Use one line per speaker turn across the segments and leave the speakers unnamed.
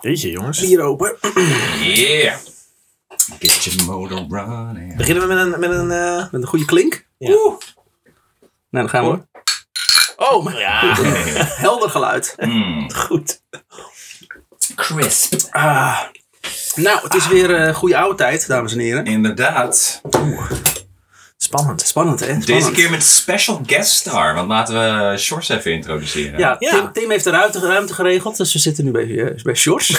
Jeetje, jongens.
Bier open.
Yeah.
Get your motor running.
Beginnen we met een, met een, eh, met een goede klink.
Ja.
Oeh.
Nou, dan gaan we.
Oh, mijn- Oh, helder geluid.
Mm,
Goed.
crisp.
Ah. Nou, het is weer eh, goede oude tijd, dames en heren.
Inderdaad.
Spannend. Spannend, hè?
Deze
Spannend.
keer met special guest star. Want laten we Shores even introduceren.
Ja,
Ja.
Tim, Tim heeft de ruimte, ruimte geregeld, dus we zitten nu bij, eh, bij Sjors.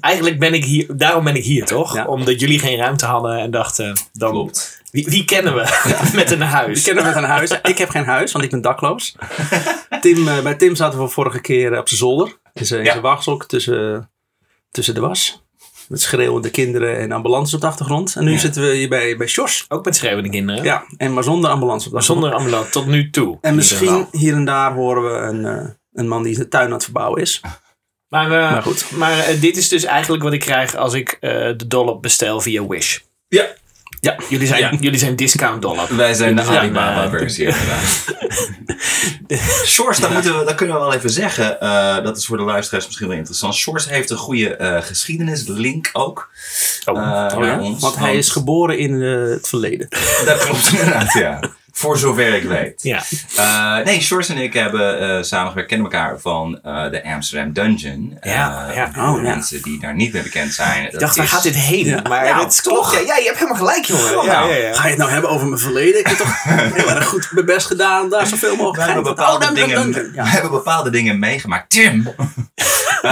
Eigenlijk ben ik hier, daarom ben ik hier toch?
Ja.
Omdat jullie geen ruimte hadden en dachten, dan,
Klopt.
wie, wie kennen we met een huis?
Die kennen met een huis. Ik heb geen huis, want ik ben dakloos. Tim, eh, bij Tim zaten we vorige keer eh, op zijn zolder. In zijn, in
Ja.
zijn wachtzok tussen, tussen de was. Met schreeuwende kinderen en ambulances op de achtergrond. En nu zitten we hier bij, bij Sjors.
Ook met schreeuwende kinderen.
Ja, en maar zonder ambulance op de
Maar
achtergrond.
Zonder ambulance, tot nu toe.
En
in ieder
misschien
geval.
hier en daar horen we een, eh, een man die de tuin aan het verbouwen is.
Maar, eh,
Maar goed.
maar eh, dit is dus eigenlijk wat ik krijg als ik eh, de dollop bestel via Wish.
Ja.
Ja.
Jullie zijn,
Ja.
jullie zijn discount dollop.
Wij zijn de
Ja,
Alibaba
maar-
versie inderdaad. Shores, dat, moeten we, dat kunnen we wel even zeggen. Eh, dat is voor de luisteraars misschien wel interessant. Shores heeft een goede eh, geschiedenislink ook.
Oh,
Eh,
Ja,
naar ons,
want hij is geboren in eh, het verleden.
Dat klopt inderdaad, ja. Voor zover ik weet.
ja.
Eh, nee, Shores en ik hebben eh samengewerkt, kennen elkaar van eh, de Amsterdam Dungeon.
Ja,
Eh,
ja.
voor
Oh,
de
ja.
mensen die daar niet mee bekend zijn.
Ik dacht, waar gaat dit heen? Maar
Ja,
dat
toch?
klopt. Ja, ja, je hebt helemaal gelijk, jongen. Ja,
Nou,
ja, ja.
Ga je het nou hebben over mijn verleden? Ik heb toch heel erg goed mijn best gedaan om daar zoveel
We
mogelijk
hebben,
geheim te
bepaalde
houden. Oh,
dingen,
Ja.
we hebben bepaalde dingen meegemaakt. Tim! Eh,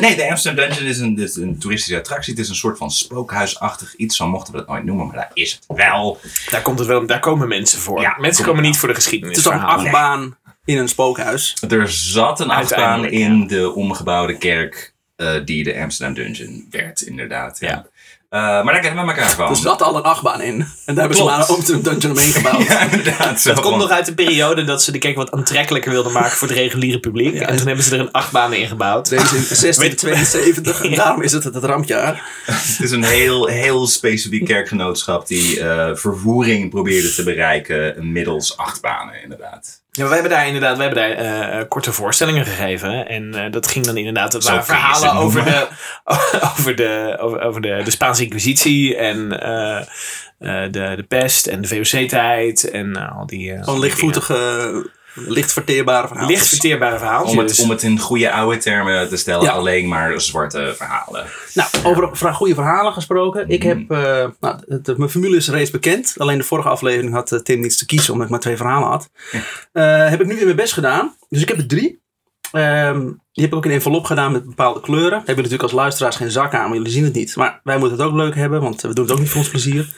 nee, de Amsterdam Dungeon is een, is een toeristische attractie. Het is een soort van spookhuisachtig iets. Zo mochten we dat nooit noemen, maar daar is het wel.
Daar, komt het wel, daar komen mensen voor.
Ja,
mensen
kom
komen
ik
niet voor de
Het is toch een
geschiedenisverhalen.
achtbaan in een spookhuis.
Er zat een achtbaan
Uiteindelijk, ja.
in de omgebouwde kerk eh, die de Amsterdam Dungeon werd, inderdaad. Ja.
Ja.
Eh, maar daar kennen we elkaar van.
Er zat al een achtbaan in. En daar hebben ze
Klopt.
maar een Amsterdam Dungeon omheen gebouwd.
Ja, inderdaad. Zo.
Het komt nog uit de periode dat ze de kerk wat aantrekkelijker wilden maken voor het reguliere publiek. En toen hebben ze er een achtbaan in gebouwd.
Deze in 1672. En daarom is het het rampjaar.
Het is een heel, heel specifiek kerkgenootschap die eh, vervoering probeerde te bereiken middels achtbanen, inderdaad.
Ja, we hebben daar inderdaad we hebben daar, eh, eh, korte voorstellingen gegeven. En eh, dat ging dan inderdaad. Het
Zo
waren
kun je ze
verhalen over, de,
noemen.
over, de, over, over de, de Spaanse Inquisitie en eh, eh, de, de pest en de VOC-tijd. En eh, al die. eh, al
Gewoon
die
lichtvoetige, licht verteerbare
dingen.
verhalen.
Licht verteerbare verhaaltjes.
Om het, om het in goede oude termen te stellen,
Ja.
alleen maar zwarte verhalen.
Nou, over vra- goede verhalen gesproken. Ik
Mhm.
heb, eh, nou, het- mijn formule is reeds bekend. Alleen de vorige aflevering had eh, Tim niets te kiezen, omdat ik maar twee verhalen had. Eh, heb ik nu weer mijn best gedaan. Dus ik heb er drie. Ehm, die heb ik ook in een envelop gedaan met bepaalde kleuren. Daar hebben jullie natuurlijk als luisteraars geen zak aan, maar jullie zien het niet. Maar wij moeten het ook leuk hebben, want we doen het ook niet voor ons plezier.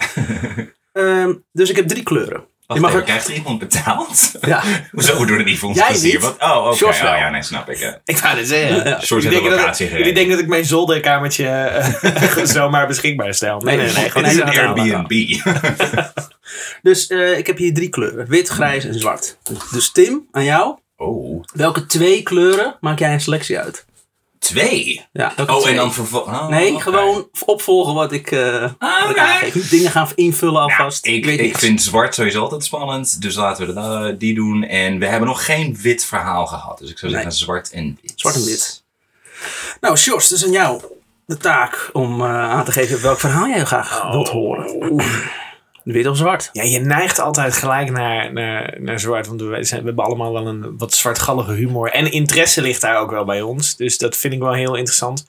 Ehm, dus ik heb drie kleuren.
Wacht
mag
even,
er-
krijgt er iemand betaald?
Ja,
Hoezo, we doen het niet voor ons
Jij
plezier?
niet.
Wat? Oh, oké.
Sjors wel.
Oh ja, nee, snap ik. hè.
Ik wou het zeggen.
Ja.
Soort
Jullie
hebben
denken dat,
locatie
ik-
gereden.
jullie denken dat ik mijn zolderkamertje eh, zomaar beschikbaar stel. Nee, nee, nee.
Nee,
gewoon
Dit is een
aan de hand.
Airbnb.
dus eh, ik heb hier drie kleuren. Wit, grijs en zwart. Dus Tim, aan jou.
Oh,
Welke twee kleuren maak jij een selectie uit?
twee.
Ja, welke
Oh,
twee?
en dan vervolgens...
Nee, gewoon opvolgen wat ik, eh wat ik
Ah, Oké.
aangeef. Niet dingen gaan invullen alvast.
ik,
ik, weet
ik
niks.
vind zwart sowieso altijd spannend, dus laten we dat, eh, die doen. En we hebben nog geen wit verhaal gehad, dus ik zou zeggen
Nee.
zwart en wit.
Zwart en wit. Nou, Sjors, het is aan jou de taak om eh, aan te geven welk verhaal jij graag wilt Oh, horen. Wit of zwart?
Ja, je neigt altijd gelijk naar, naar, naar zwart. Want we, zijn, we hebben allemaal wel een wat zwartgallige humor. En interesse ligt daar ook wel bij ons. Dus dat vind ik wel heel interessant.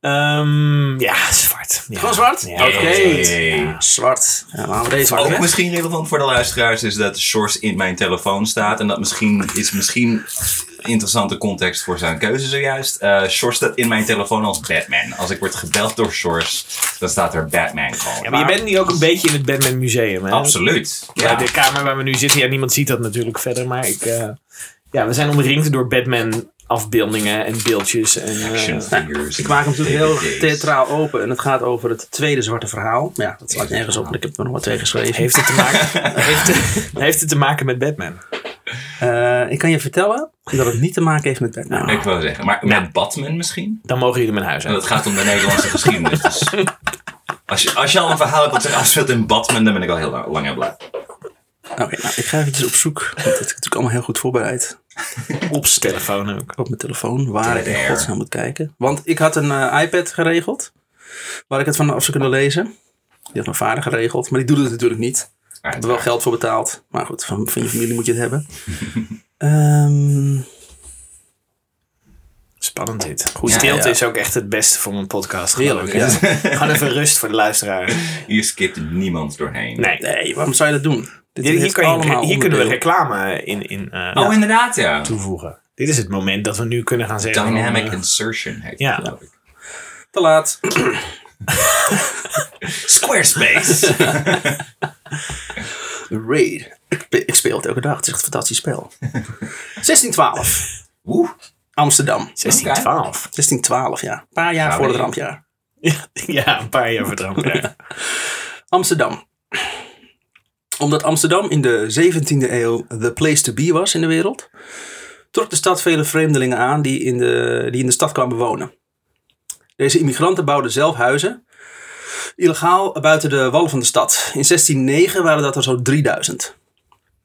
Ehm, ja, zwart. Ja.
Gewoon zwart?
Ja,
Oké.
Hey.
Zwart. Ja, dan halen we deze
Ook
weg.
misschien relevant voor de luisteraars is dat Shores in mijn telefoon staat. En dat misschien is misschien interessante context voor zijn keuze zojuist. Eh Shores staat in mijn telefoon als Batman. Als ik word gebeld door Shores, dan staat er Batman gewoon.
Ja, maar je bent nu ook een beetje in het Batman Museum. Hè?
Absoluut.
Bij
Ja.
Eh, de kamer waar we nu zitten. Ja, niemand ziet dat natuurlijk verder. Maar ik, eh, ja, we zijn omringd door Batman afbeeldingen en beeldjes. En, eh,
Action figures.
Ik maak hem natuurlijk heel erg
DVD's.
theatraal open en het gaat over het tweede zwarte verhaal. Maar Ja, dat slaat nergens op, want ik heb er nog maar twee geschreven.
heeft, het te maken, heeft, het- heeft het te maken met Batman?
Eh, ik kan je vertellen dat het niet te maken heeft met Batman.
Ik wou zeggen, maar met Batman misschien?
Dan mogen jullie mijn huis
En
uit.
het gaat om de Nederlandse geschiedenis. Dus als, je, als je al een verhaal hebt dat zich afspeelt in Batman, dan ben ik al heel lang, lang en blij.
Oké, nou, ik ga eventjes op zoek. Want dat heb ik natuurlijk allemaal heel goed voorbereid.
Op zijn telefoon ook.
Op mijn telefoon, waar ik in
There.
godsnaam moet kijken. Want ik had een eh, iPad geregeld. Waar ik het van af zou kunnen lezen. Die had mijn vader geregeld. Maar die doet het natuurlijk niet. Ik heb er wel geld voor betaald. Maar goed, van, van je familie moet je het hebben. Ehm,
Spannend dit.
Goed,
Stilte
ja, ja.
is ook echt het beste voor mijn podcast.
heerlijk. Ja.
Gewoon even rust voor de luisteraar.
Hier skipt niemand doorheen.
Nee.
Nee, waarom zou je dat doen? Dit
Dit- hier
heeft
kan je-
allemaal
hier kunnen we
onderdeel.
reclame in, in eh,
Oh, inderdaad, ja.
toevoegen. Dit is het moment dat we nu kunnen gaan zeggen. van,
Dynamic
eh,
insertion heet
ja.
het, geloof ik.
Te laat.
Squarespace!
Raid. Ik, spe- ik speel het elke dag. Het is echt een fantastisch spel. 1612.
Oeh,
Amsterdam.
1612.
1612, ja. Een paar jaar
Ja,
voor het
weet je.
rampjaar.
Ja, een paar jaar verdrampt. ja.
Amsterdam. Omdat Amsterdam in de 17e eeuw the place to be was in de wereld, trok de stad vele vreemdelingen aan die in de, die in de stad kwamen wonen. Deze immigranten bouwden zelf huizen, illegaal buiten de wallen van de stad. In 1609 waren dat er zo 3000.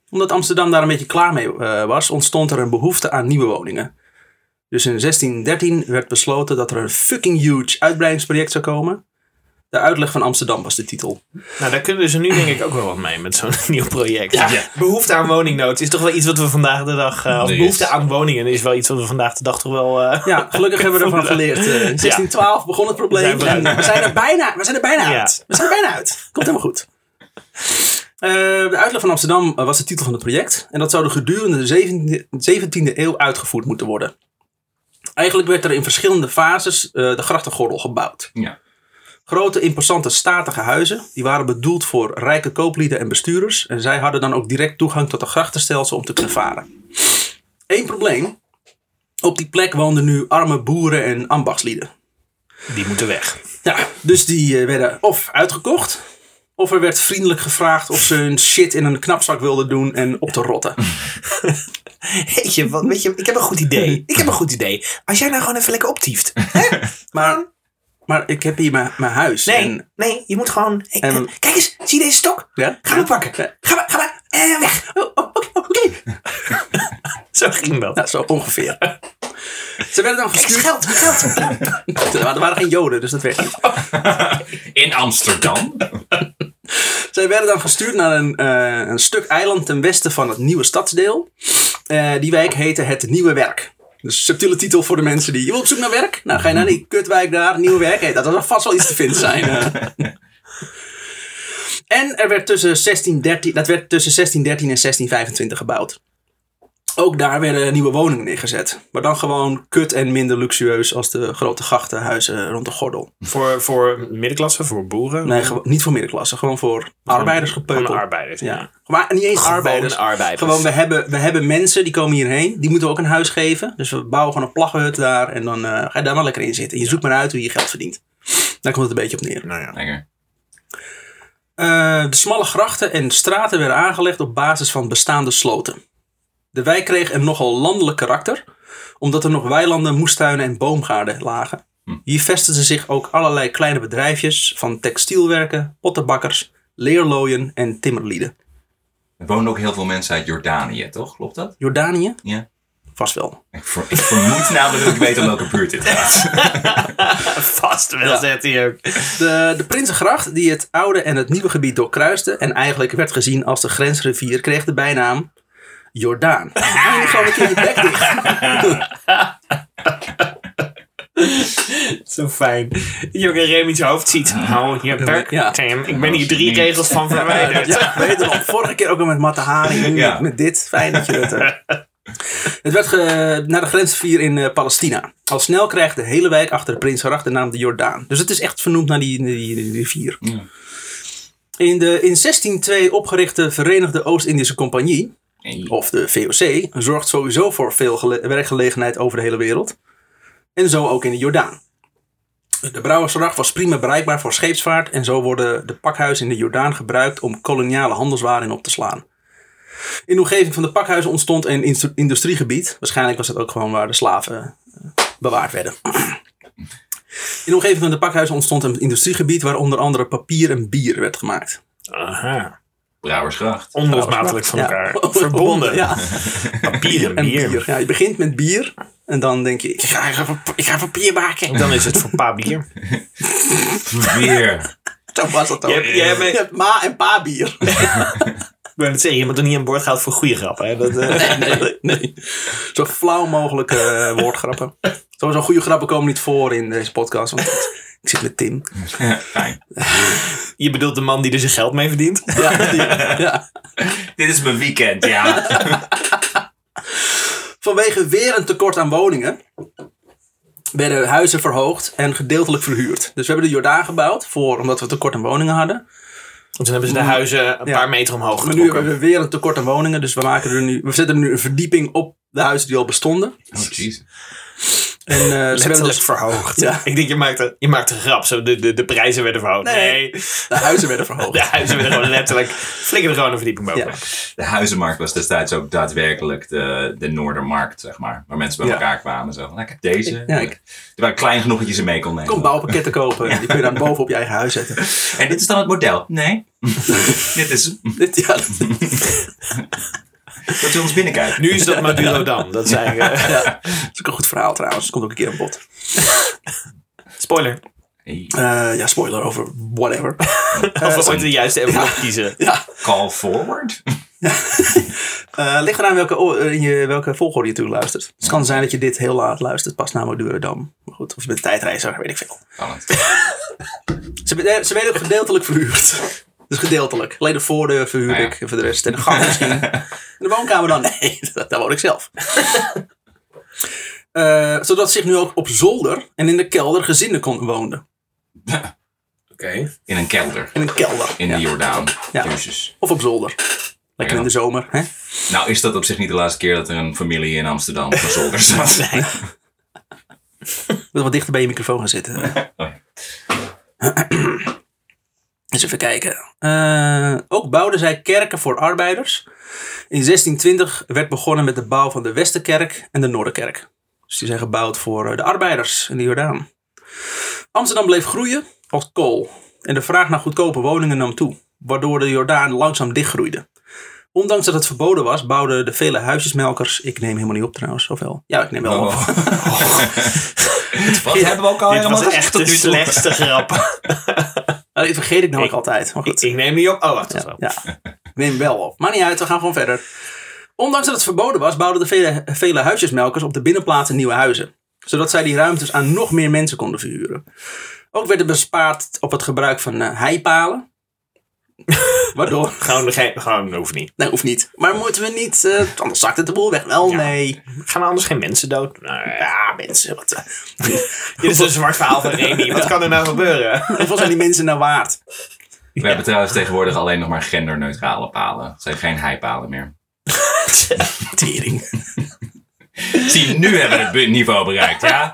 Omdat Amsterdam daar een beetje klaar mee eh, was, ontstond er een behoefte aan nieuwe woningen. Dus in 1613 werd besloten dat er een fucking huge uitbreidingsproject zou komen. De uitleg van Amsterdam was de titel.
Nou, daar kunnen ze nu denk ik ook wel wat mee met zo'n nieuw project.
Ja.
Ja.
Behoefte aan woningnood is toch wel iets wat we vandaag de dag... eh, of
Nee,
behoefte
is-
aan woningen is wel iets wat we vandaag de dag toch wel... eh,
Ja, gelukkig hebben we ervan geleerd. Eh, in 1612 begon het probleem.
We zijn
en we zijn er bijna, we zijn er bijna
Ja.
uit. We zijn er bijna uit. Komt helemaal goed. Eh, de uitleg van Amsterdam eh, was de titel van het project. En dat zou de gedurende de 17e 17e eeuw uitgevoerd moeten worden. Eigenlijk werd er in verschillende fases eh, de grachtengordel gebouwd.
Ja.
Grote, imposante, statige huizen. Die waren bedoeld voor rijke kooplieden en bestuurders. En zij hadden dan ook direct toegang tot een grachtenstelsel om te kunnen varen. Eén probleem. Op die plek woonden nu arme boeren en ambachtslieden.
Die moeten weg.
Ja, dus die eh, werden of uitgekocht. Of er werd vriendelijk gevraagd of ze hun shit in een knapzak wilden doen en op te rotten.
Weet je, wat, weet je, ik heb een goed idee. Ik heb een goed idee. Als jij nou gewoon even lekker optieft.
Maar, maar ik heb hier mijn, mijn huis. En,
nee, je moet gewoon... ik-
En-
kijk eens, zie je deze stok?
ja?
Ga maar pakken. Ga maar, ga maar. Eh, weg.
Oh, oh, Oké, oké.
Zo ging dat.
Nou, zo ongeveer. Ze werden dan
Kijk eens,
gestuurd.
geld, geld.
Er waren er waren geen joden, dus dat werkt niet.
in Amsterdam.
Zij werden dan gestuurd naar een, eh, een stuk eiland ten westen van het nieuwe stadsdeel. Eh, die wijk heette Het Nieuwe Werk. Dus subtiele titel voor de mensen die... Je wil op zoek naar werk? Nou, ga je naar die kutwijk daar, Nieuwe Werk. Hey, dat zal vast wel iets te vinden zijn. eh. en er werd tussen 1613, dat werd tussen 1613 en 1625 gebouwd. Ook daar werden nieuwe woningen neergezet. Maar dan gewoon kut en minder luxueus als de grote grachtenhuizen rond de gordel.
Voor, voor middenklasse, voor boeren.
Nee, gewoon- niet voor middenklasse. Gewoon voor arbeidersgepeupel.
Van arbeiders.
Ja. Maar niet eens
Gewoon
arbeiders.
arbeiders.
Gewoon, we hebben, we hebben mensen die komen hierheen. Die moeten we ook een huis geven. Dus we bouwen gewoon een plaggenhut daar. En dan eh, ga je daar maar lekker in zitten. En je zoekt maar uit hoe je geld verdient. Daar komt het een beetje op neer.
Nou ja.
Lekker.
Eh, de smalle grachten en straten werden aangelegd op basis van bestaande sloten. De wijk kreeg een nogal landelijk karakter, omdat er nog weilanden, moestuinen en boomgaarden lagen. Hier vestigden zich ook allerlei kleine bedrijfjes van textielwerken, pottenbakkers, leerlooien en timmerlieden.
Er wonen ook heel veel mensen uit Jordanië, toch? Klopt dat?
Jordanië?
Ja.
Vast wel.
Ik, ver- ik vermoed namelijk dat ik weet om welke buurt dit gaat.
Vast wel,
Ja.
zegt hij ook.
De, de Prinsengracht, die het oude en het nieuwe gebied doorkruiste en eigenlijk werd gezien als de grensrivier, kreeg de bijnaam Jordaan. Hou je gewoon een keer je bek dicht.
Zo fijn. Jokke Rem in zijn hoofd ziet. Hou je bek.
Ja.
Tim. Ik ben hier drie
Niet.
regels van verwijderd.
Ja, wederom. Vorige keer ook al met Matte Haring, nu
Ja.
met dit. Fijn dat je het hebt. Het werd ge- naar de grens vier in eh, Palestina. Al snel krijgt de hele wijk achter de Prinsengracht de naam de Jordaan. Dus het is echt vernoemd naar die, die, die rivier.
Ja.
In de in 1602 opgerichte Verenigde Oost-Indische Compagnie
Nee.
of de VOC, zorgt sowieso voor veel gele- werkgelegenheid over de hele wereld. En zo ook in de Jordaan. De Brouwersgracht was prima bereikbaar voor scheepsvaart en zo worden de pakhuizen in de Jordaan gebruikt om koloniale handelswaren op te slaan. In de omgeving van de pakhuizen ontstond een instru- industriegebied. Waarschijnlijk was dat ook gewoon waar de slaven eh, bewaard werden. In de omgeving van de pakhuizen ontstond een industriegebied waar onder andere papier en bier werd gemaakt.
Aha.
Brouwersgracht.
Onlosmakelijk van
Ja.
elkaar verbonden.
Ja,
Papier
en
en bier.
bier. Ja, je begint met bier. En dan denk je, ik ga, ik ga, pap- ik ga papier maken.
Dan is het voor pa bier.
Weer.
Zo was dat ook.
Jij- jij hebt-
Je hebt ma en pa bier.
Ik ben het zeggen, je moet er niet aan boord gaan voor goede grappen. Hè? Dat, eh,
nee, nee. Zo flauw mogelijk eh, woordgrappen. Sowieso goede grappen komen niet voor in deze podcast. Want ik zit met Tim.
Fijn.
je bedoelt de man die er zijn geld mee verdient.
Ja, die- ja.
Dit is mijn weekend, ja.
Vanwege weer een tekort aan woningen werden huizen verhoogd en gedeeltelijk verhuurd. Dus we hebben de Jordaan gebouwd voor, omdat we tekort aan woningen hadden.
Want toen hebben ze de huizen een
Mm. Ja.
paar meter omhoog
Maar nu hebben
getrokken.
we weer een tekort aan woningen. Dus we, maken er nu, we zetten er nu een verdieping op de huizen die al bestonden.
Oh, jeez.
En, eh, ze werden
Letterlijk
dus,
verhoogd.
Ja.
Ik denk, je maakt, een- je maakt een grap. Zo, de, de, de prijzen werden verhoogd.
Nee.
Nee.
dus de huizen werden verhoogd.
De huizen werden gewoon letterlijk... Flikker er gewoon een verdieping boven.
Ja.
De huizenmarkt was destijds ook daadwerkelijk de, de Noordermarkt, zeg maar. Waar mensen bij
Ja.
elkaar kwamen. Zo van, nou, ik heb deze.
Ja,
Ja,
ik-
Er waren klein genoeg dat je ze mee kon nemen.
Kom bouwpakketten kopen. Die kun je dan boven op je eigen huis zetten.
En dit is dan het model. Nee. dit is hem.
Dit, ja, dat-
Dat we ons binnenkijken.
Nu is dat Maduro Dam. Dat is eigenlijk... eh,
ja. Dat is ook een goed verhaal trouwens. Komt ook een keer aan bod.
spoiler.
Hey,
Eh, ja, spoiler over whatever.
Of we ooit de juiste envelop kiezen.
ja.
Call forward?
Eh ligt eraan welke, o- in je, welke volgorde je toe luistert. het kan zijn dat je dit heel laat luistert. Pas na Madurodam. Maar goed, of je bent tijdreiziger, weet ik veel.
Spannend.
Ze, be- eh, ze werden ook gedeeltelijk verhuurd. Dus gedeeltelijk. Alleen de voordeur verhuur
Ah, ja.
ik. En voor de rest. En de gang misschien. en de woonkamer dan? Nou Nee, dat- daar woon ik zelf. Eh, zodat zich nu ook op zolder en in de kelder gezinnen kon, woonden.
Oké.
In een kelder.
In een kelder.
In
Ja.
de Jordaan.
Ja.
Jezus.
Of op zolder. Lekker
Ja.
in de zomer. Hè?
Nou is dat op zich niet de laatste keer dat er een familie in Amsterdam op een zolder zat.
Wil wat dichter bij je microfoon gaan zitten.
Oh ja.
Eens even kijken. Eh, ook bouwden zij kerken voor arbeiders. In 1620 werd begonnen met de bouw van de Westerkerk en de Noorderkerk. Dus die zijn gebouwd voor eh, de arbeiders in de Jordaan. Amsterdam bleef groeien als kool. En de vraag naar goedkope woningen nam toe, waardoor de Jordaan langzaam dichtgroeide. Ondanks dat het verboden was, bouwden de vele huisjesmelkers. Ik neem helemaal niet op trouwens, of wel? Ja, ik neem
Nou,
wel op.
Oh. Wat hebben we ook al
Dit was
helemaal
echt
gezegd tot
de
nu toe?
slechtste grap.
Eh, dit vergeet ik namelijk
Ik-
altijd. Maar goed.
Ik, ik neem die op. Oh, wacht. dat is
Ja,
wel.
ja. Neem wel op. Maar niet uit, we gaan gewoon verder. Ondanks dat het verboden was, bouwden de vele, vele huisjesmelkers op de binnenplaatsen nieuwe huizen. Zodat zij die ruimtes aan nog meer mensen konden verhuren. Ook werd er bespaard op het gebruik van eh, heipalen. Waardoor.
Gewoon, geen- gewoon, dat hoeft niet.
Nee, hoeft niet. Maar moeten we niet. eh, anders zakt het de boel weg. Wel,
Ja.
nee.
Gaan er anders geen mensen dood? Nou, ja, mensen. Wat, eh. Dit is
Hoeveel-
een zwart verhaal van Remy. Wat kan er nou gebeuren?
Hoeveel zijn die mensen nou waard?
We hebben trouwens tegenwoordig alleen nog maar genderneutrale palen. Er zijn geen heipalen meer.
Tering.
Zie, nu hebben we het bu- niveau bereikt, ja?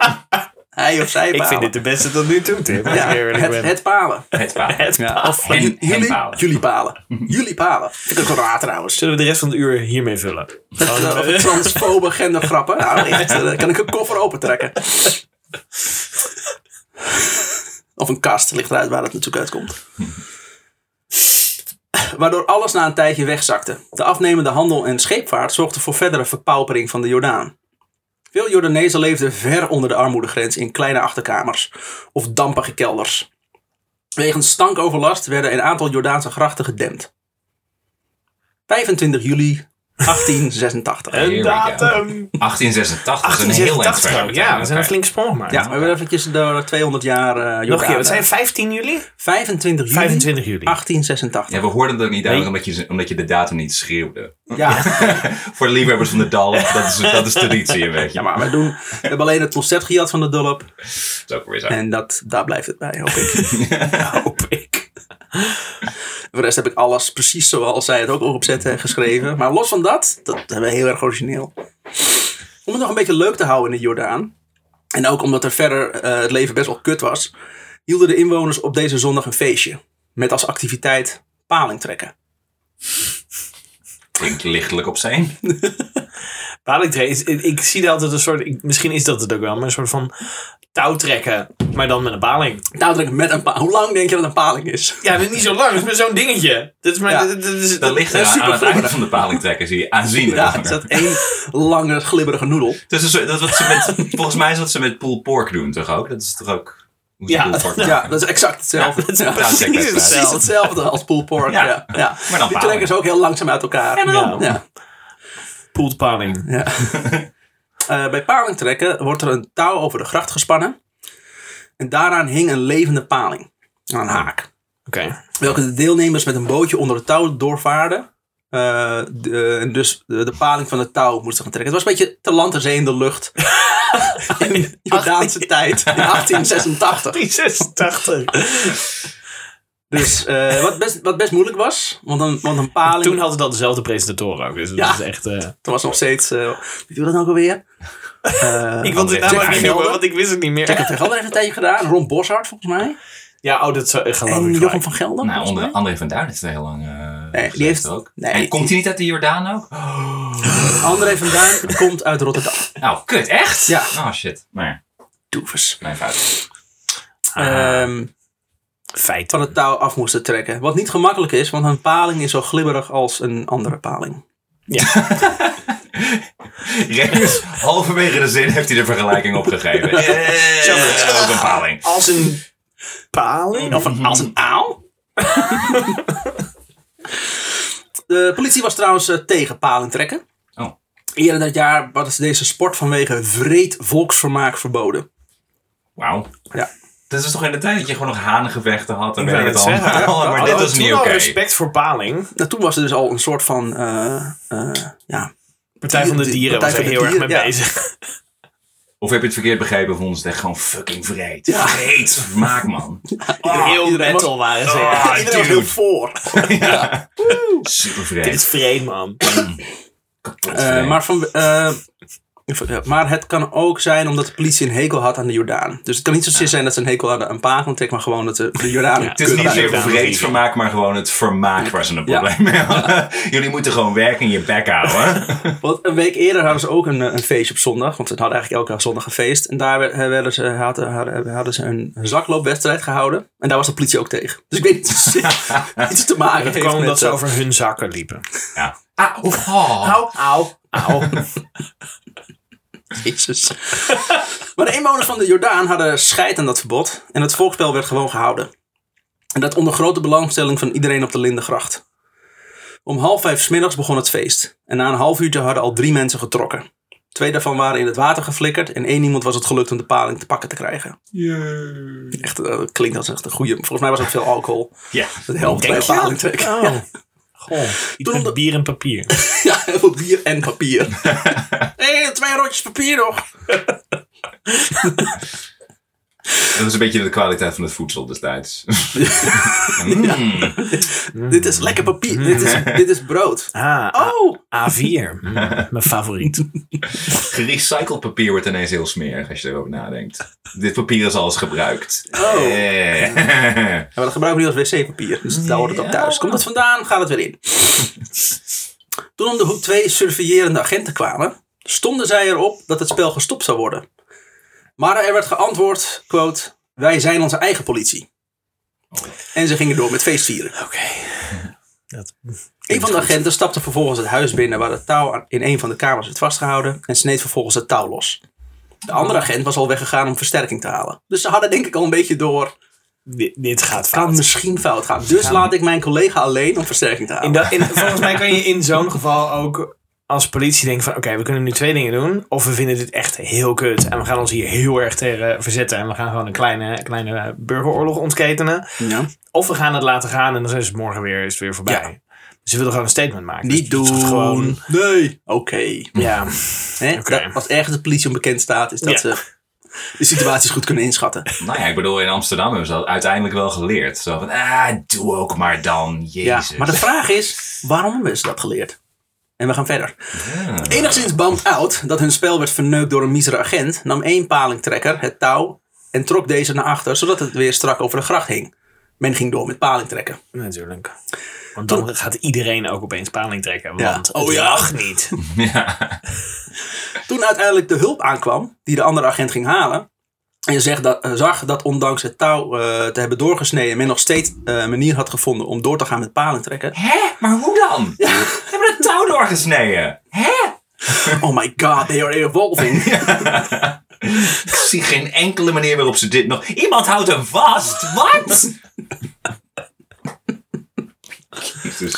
Hij of zij
Ik
palen.
vind dit de beste tot nu toe, Tim.
ja,
Ja, ik
het,
ben.
het palen.
Het palen.
Het paal.
Of
Hen-
ju- jullie,
henpalen.
jullie palen. Jullie palen. Vind ik ook wel raar trouwens.
Zullen we de rest van het uur hiermee vullen? Gewoon,
Of
eh,
transfobe gendergrappen. Nou, echt, eh, kan ik een koffer opentrekken. Of een kast, ligt eruit waar het natuurlijk uitkomt. Waardoor alles na een tijdje wegzakte. De afnemende handel en scheepvaart zorgden voor verdere verpaupering van de Jordaan. Veel Jordanezen leefden ver onder de armoedegrens in kleine achterkamers of dampige kelders. Wegens stankoverlast werden een aantal Jordaanse grachten gedempt. 25 juli 1886.
Here
Een
we go.
datum.
1886, dat is een heel eind
1886.
verder.
gewoon. Ja, we zijn een flinke sprong gemaakt.
Ja, we hebben eventjes door 200 jaar eh
Nog een
Jordaan,
keer, wat
eh,
zijn 15 juli?
25 juli
25 juli.
1886.
Ja, we hoorden het ook niet duidelijk omdat je, omdat je de datum niet schreeuwde. Voor de liefhebbers van de Dal, dat is, dat is traditie een beetje.
Ja, maar we, doen, we hebben alleen het concept gejat van de Dulp.
Dat is ook weer zo.
En dat, daar blijft het bij, hoop ik. hoop ik. Voor de rest heb ik alles precies zoals zij het ook opzet eh, geschreven. Maar los van dat, dat hebben we heel erg origineel. Om het nog een beetje leuk te houden in de Jordaan. En ook omdat er verder eh, het leven best wel kut was. Hielden de inwoners op deze zondag een feestje. Met als activiteit paling trekken.
Klinkt lichtelijk op zijn.
Palingtree is, ik, ik zie dat altijd een soort, ik- misschien is dat het ook wel, maar een soort van touw trekken, maar dan met een paling.
Dadelijk met een paling. Hoe lang denk je dat een paling is?
Ja, dat is niet zo lang. Dat is maar zo'n dingetje. Dat is maar...
Ja.
dat, dat is,
Dat ligt
dat
er
is
aan,
super
het
vroeg.
einde van de palingtrekker, zie je. Aanzienlijk
Ja,
langer.
het is dat één lange glibberige noedel.
Dus dat is- dat is wat ze met, volgens mij is wat ze met pulled pork doen, toch ook? Dat is toch ook hoe ze
Ja,
pulled pork
Ja,
maken?
dat is exact hetzelfde.
is een
precies,
touwtrekker.
precies hetzelfde als pulled pork. Ja.
Ja.
Ja. Die
Maar dan paling.
trekken ze ook heel langzaam uit elkaar. En
dan?
Ja.
Pulled paling.
Ja. Eh, bij paling trekken wordt er een touw over de gracht gespannen. En daaraan hing een levende paling. Aan een haak.
Oké.
Welke de deelnemers met een bootje onder het touw doorvaarden. Eh, de- en dus de, de paling van het touw moesten gaan trekken. Het was een beetje te land en zee in de lucht. in Jordaanse tijd. In 1886.
86.
Dus eh, wat, best, wat best moeilijk was. Want een, want een paling...
Toen hadden ze dat dezelfde presentator ook. Dus dat
Ja.
is echt... eh,
Toen was nog steeds. eh wie doet dat nou ook alweer? Eh
ik wilde het
André
namelijk niet
Gelder.
noemen, want ik wist het niet
Jack
meer.
van Gelder heeft een tijdje gedaan. Ron Boshart volgens mij.
Ja, oh, dat zou, geloof
En
ik
Jochem
gelijk.
van Gelder.
Nou,
volgens
onder
mij.
André van Duin heeft heel lang eh
die
gezeten
heeft-
ook.
nee,
en
die-
komt hij niet uit de Jordaan ook?
André van Duin komt uit Rotterdam.
Nou, kut, echt?
Ja.
Oh shit. Maar,
Doevers.
mijn fout.
Ehm,
Feit.
van het touw af moesten trekken. Wat niet gemakkelijk is, want een paling is zo glibberig als een andere paling.
Remus, halverwege de zin heeft hij de vergelijking opgegeven. Yeah. Ook een paling.
Als een paling? Of een, als een aal?
De politie was trouwens eh, tegen paling trekken.
Oh.
Eerder dat jaar was deze sport vanwege vreed volksvermaak verboden.
Wauw.
Ja.
Dat is toch in de tijd dat je gewoon nog hanengevechten had en
Ik
weet
wil
ik het
het
al.
zeggen.
Maar
Hadden
dit
we
was
toen
niet
al
oké.
respect voor paling.
Nou, toen was er dus al een soort van eh, eh, ja,
Partij van de
Die- die
Dieren was
Partij
er
van de
heel erg mee
Dieren, ja.
bezig.
Of heb je het verkeerd begrepen? Vonden ze het echt gewoon fucking vreed.
Ja.
Vreed. Maak man.
heel
iedereen
metal waren ze.
Ah,
ja.
Iedereen was
dude.
heel voor.
Ja. Super
Dit
vreed.
is vreemd, man.
Kapot
Eh,
vreed.
maar, van, eh, ja, maar het kan ook zijn omdat de politie een hekel had aan de Jordaan. Dus het kan niet zozeer zijn dat ze een hekel hadden aan Pagen, trek maar gewoon dat de, de Jordaan.
Ja,
Het is
kut
niet
waren.
meer vreed vermaak, maar gewoon het vermaak waar ze een probleem mee hadden. Jullie moeten gewoon werk in je bek houden.
Want een week eerder hadden ze ook een, eh, een feestje op zondag. Want ze hadden eigenlijk elke zondag een feest. En daar werd- eh, werden ze, hadden, hadden, hadden ze een zakloopwedstrijd gehouden. En daar was de politie ook tegen. Dus ik weet niet of het iets te maken
Dat
heeft
kwam
met,
omdat ze
eh,
over hun zakken liepen.
Ja. Ah, oef, oh.
Au, au, au.
Jezus. maar de inwoners van de Jordaan hadden scheid aan dat verbod. En het volksspel werd gewoon gehouden. En dat onder grote belangstelling van iedereen op de Lindengracht. Om half vijf 's middags begon het feest. En na een half uurtje hadden al drie mensen getrokken. Twee daarvan waren in het water geflikkerd. En één iemand was het gelukt om de paling te pakken te krijgen. Echt, eh, dat klinkt als echt een goede. Volgens mij was er ook veel alcohol.
Ja.
Dat helpt bij
Denk
een
je?
paling trekken.
Oh. Goh, iets met bier en papier.
Ja, heel veel bier en papier. Hé, twee rondjes papier nog.
Dat is een beetje de kwaliteit van het voedsel destijds. Mm.
Dit is lekker papier. Dit,
Mm.
is, dit is brood.
Ah, A-
Oh,
A4. Mm, mijn favoriet.
Gerecycled papier wordt ineens heel smerig als je erover nadenkt. Dit papier is al eens gebruikt.
Oh.
Eh.
Ja, maar dat gebruiken we nu als wc-papier. Dus daar hoort het ook thuis. Komt het vandaan, gaat het weer in. Toen om de hoek twee surveillerende agenten kwamen, stonden zij erop dat het spel gestopt zou worden. Maar er werd geantwoord, quote, wij zijn onze eigen politie. En ze gingen door met feestvieren.
Oké. Dat-
Een van de agenten stapte vervolgens het huis binnen waar het touw aan- in een van de kamers werd vastgehouden en sneed vervolgens het touw los. De andere agent was al weggegaan om versterking te halen. Dus ze hadden denk ik al een beetje door,
Dit, dit gaat
kan
fout.
misschien fout gaan. Dus laat ik mijn collega alleen om versterking te halen.
In dat, in, volgens mij kan je in zo'n geval ook als politie denken van... Oké, we kunnen nu twee dingen doen. Of we vinden dit echt heel kut. En we gaan ons hier heel erg tegen verzetten. En we gaan gewoon een kleine, kleine burgeroorlog ontketenen.
Ja.
Of we gaan het laten gaan en dan is het morgen weer, is het weer voorbij. Ze willen gewoon een statement maken.
Niet
Dus
doen.
het is Gewoon,
Nee. Oké.
ja.
Hè,
Oké.
dat- Als ergens de politie onbekend staat, is dat
Ja.
ze de situaties goed kunnen inschatten.
Nou ja, ik bedoel, in Amsterdam hebben ze dat uiteindelijk wel geleerd. Zo van, ah, doe ook maar dan,
Ja.
jezus.
Maar de vraag is, waarom hebben ze dat geleerd? En we gaan verder.
Ja.
Enigszins bummed out dat hun spel werd verneukt door een misere agent, nam één palingtrekker het touw en trok deze naar achter, zodat het weer strak over de gracht hing. Men ging door met palingtrekken.
Natuurlijk. Want dan gaat iedereen ook opeens paling trekken.
Ja.
Want
Oh
het
ja.
mag niet.
Ja.
Toen uiteindelijk de hulp aankwam, die de andere agent ging halen, En zegt dat, eh, zag dat ondanks het touw eh, te hebben doorgesneden, men nog steeds eh, een manier had gevonden om door te gaan met palen trekken.
Hé, maar hoe dan? We hebben het touw doorgesneden. Hé?
Oh my god, they are evolving.
Ik zie geen enkele manier waarop ze dit nog... Iemand houdt hem vast! Wat? Jezus.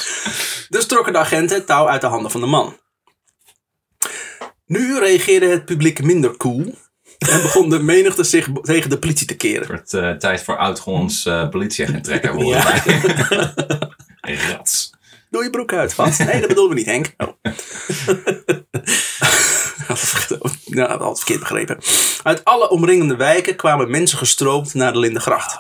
Dus trokken de agenten het touw uit de handen van de man. Nu reageerde het publiek minder cool en begon de menigte zich bo- tegen de politie te keren.
Het wordt eh, tijd voor oud-Hollands eh politieagent trekken. volgens
Ja.
mij. Rats.
Doe je broek uit, vast. Nee, dat bedoelden we niet, Henk. Oh. ja, dat had ik verkeerd begrepen. Uit alle omringende wijken kwamen mensen gestroomd naar de Lindengracht.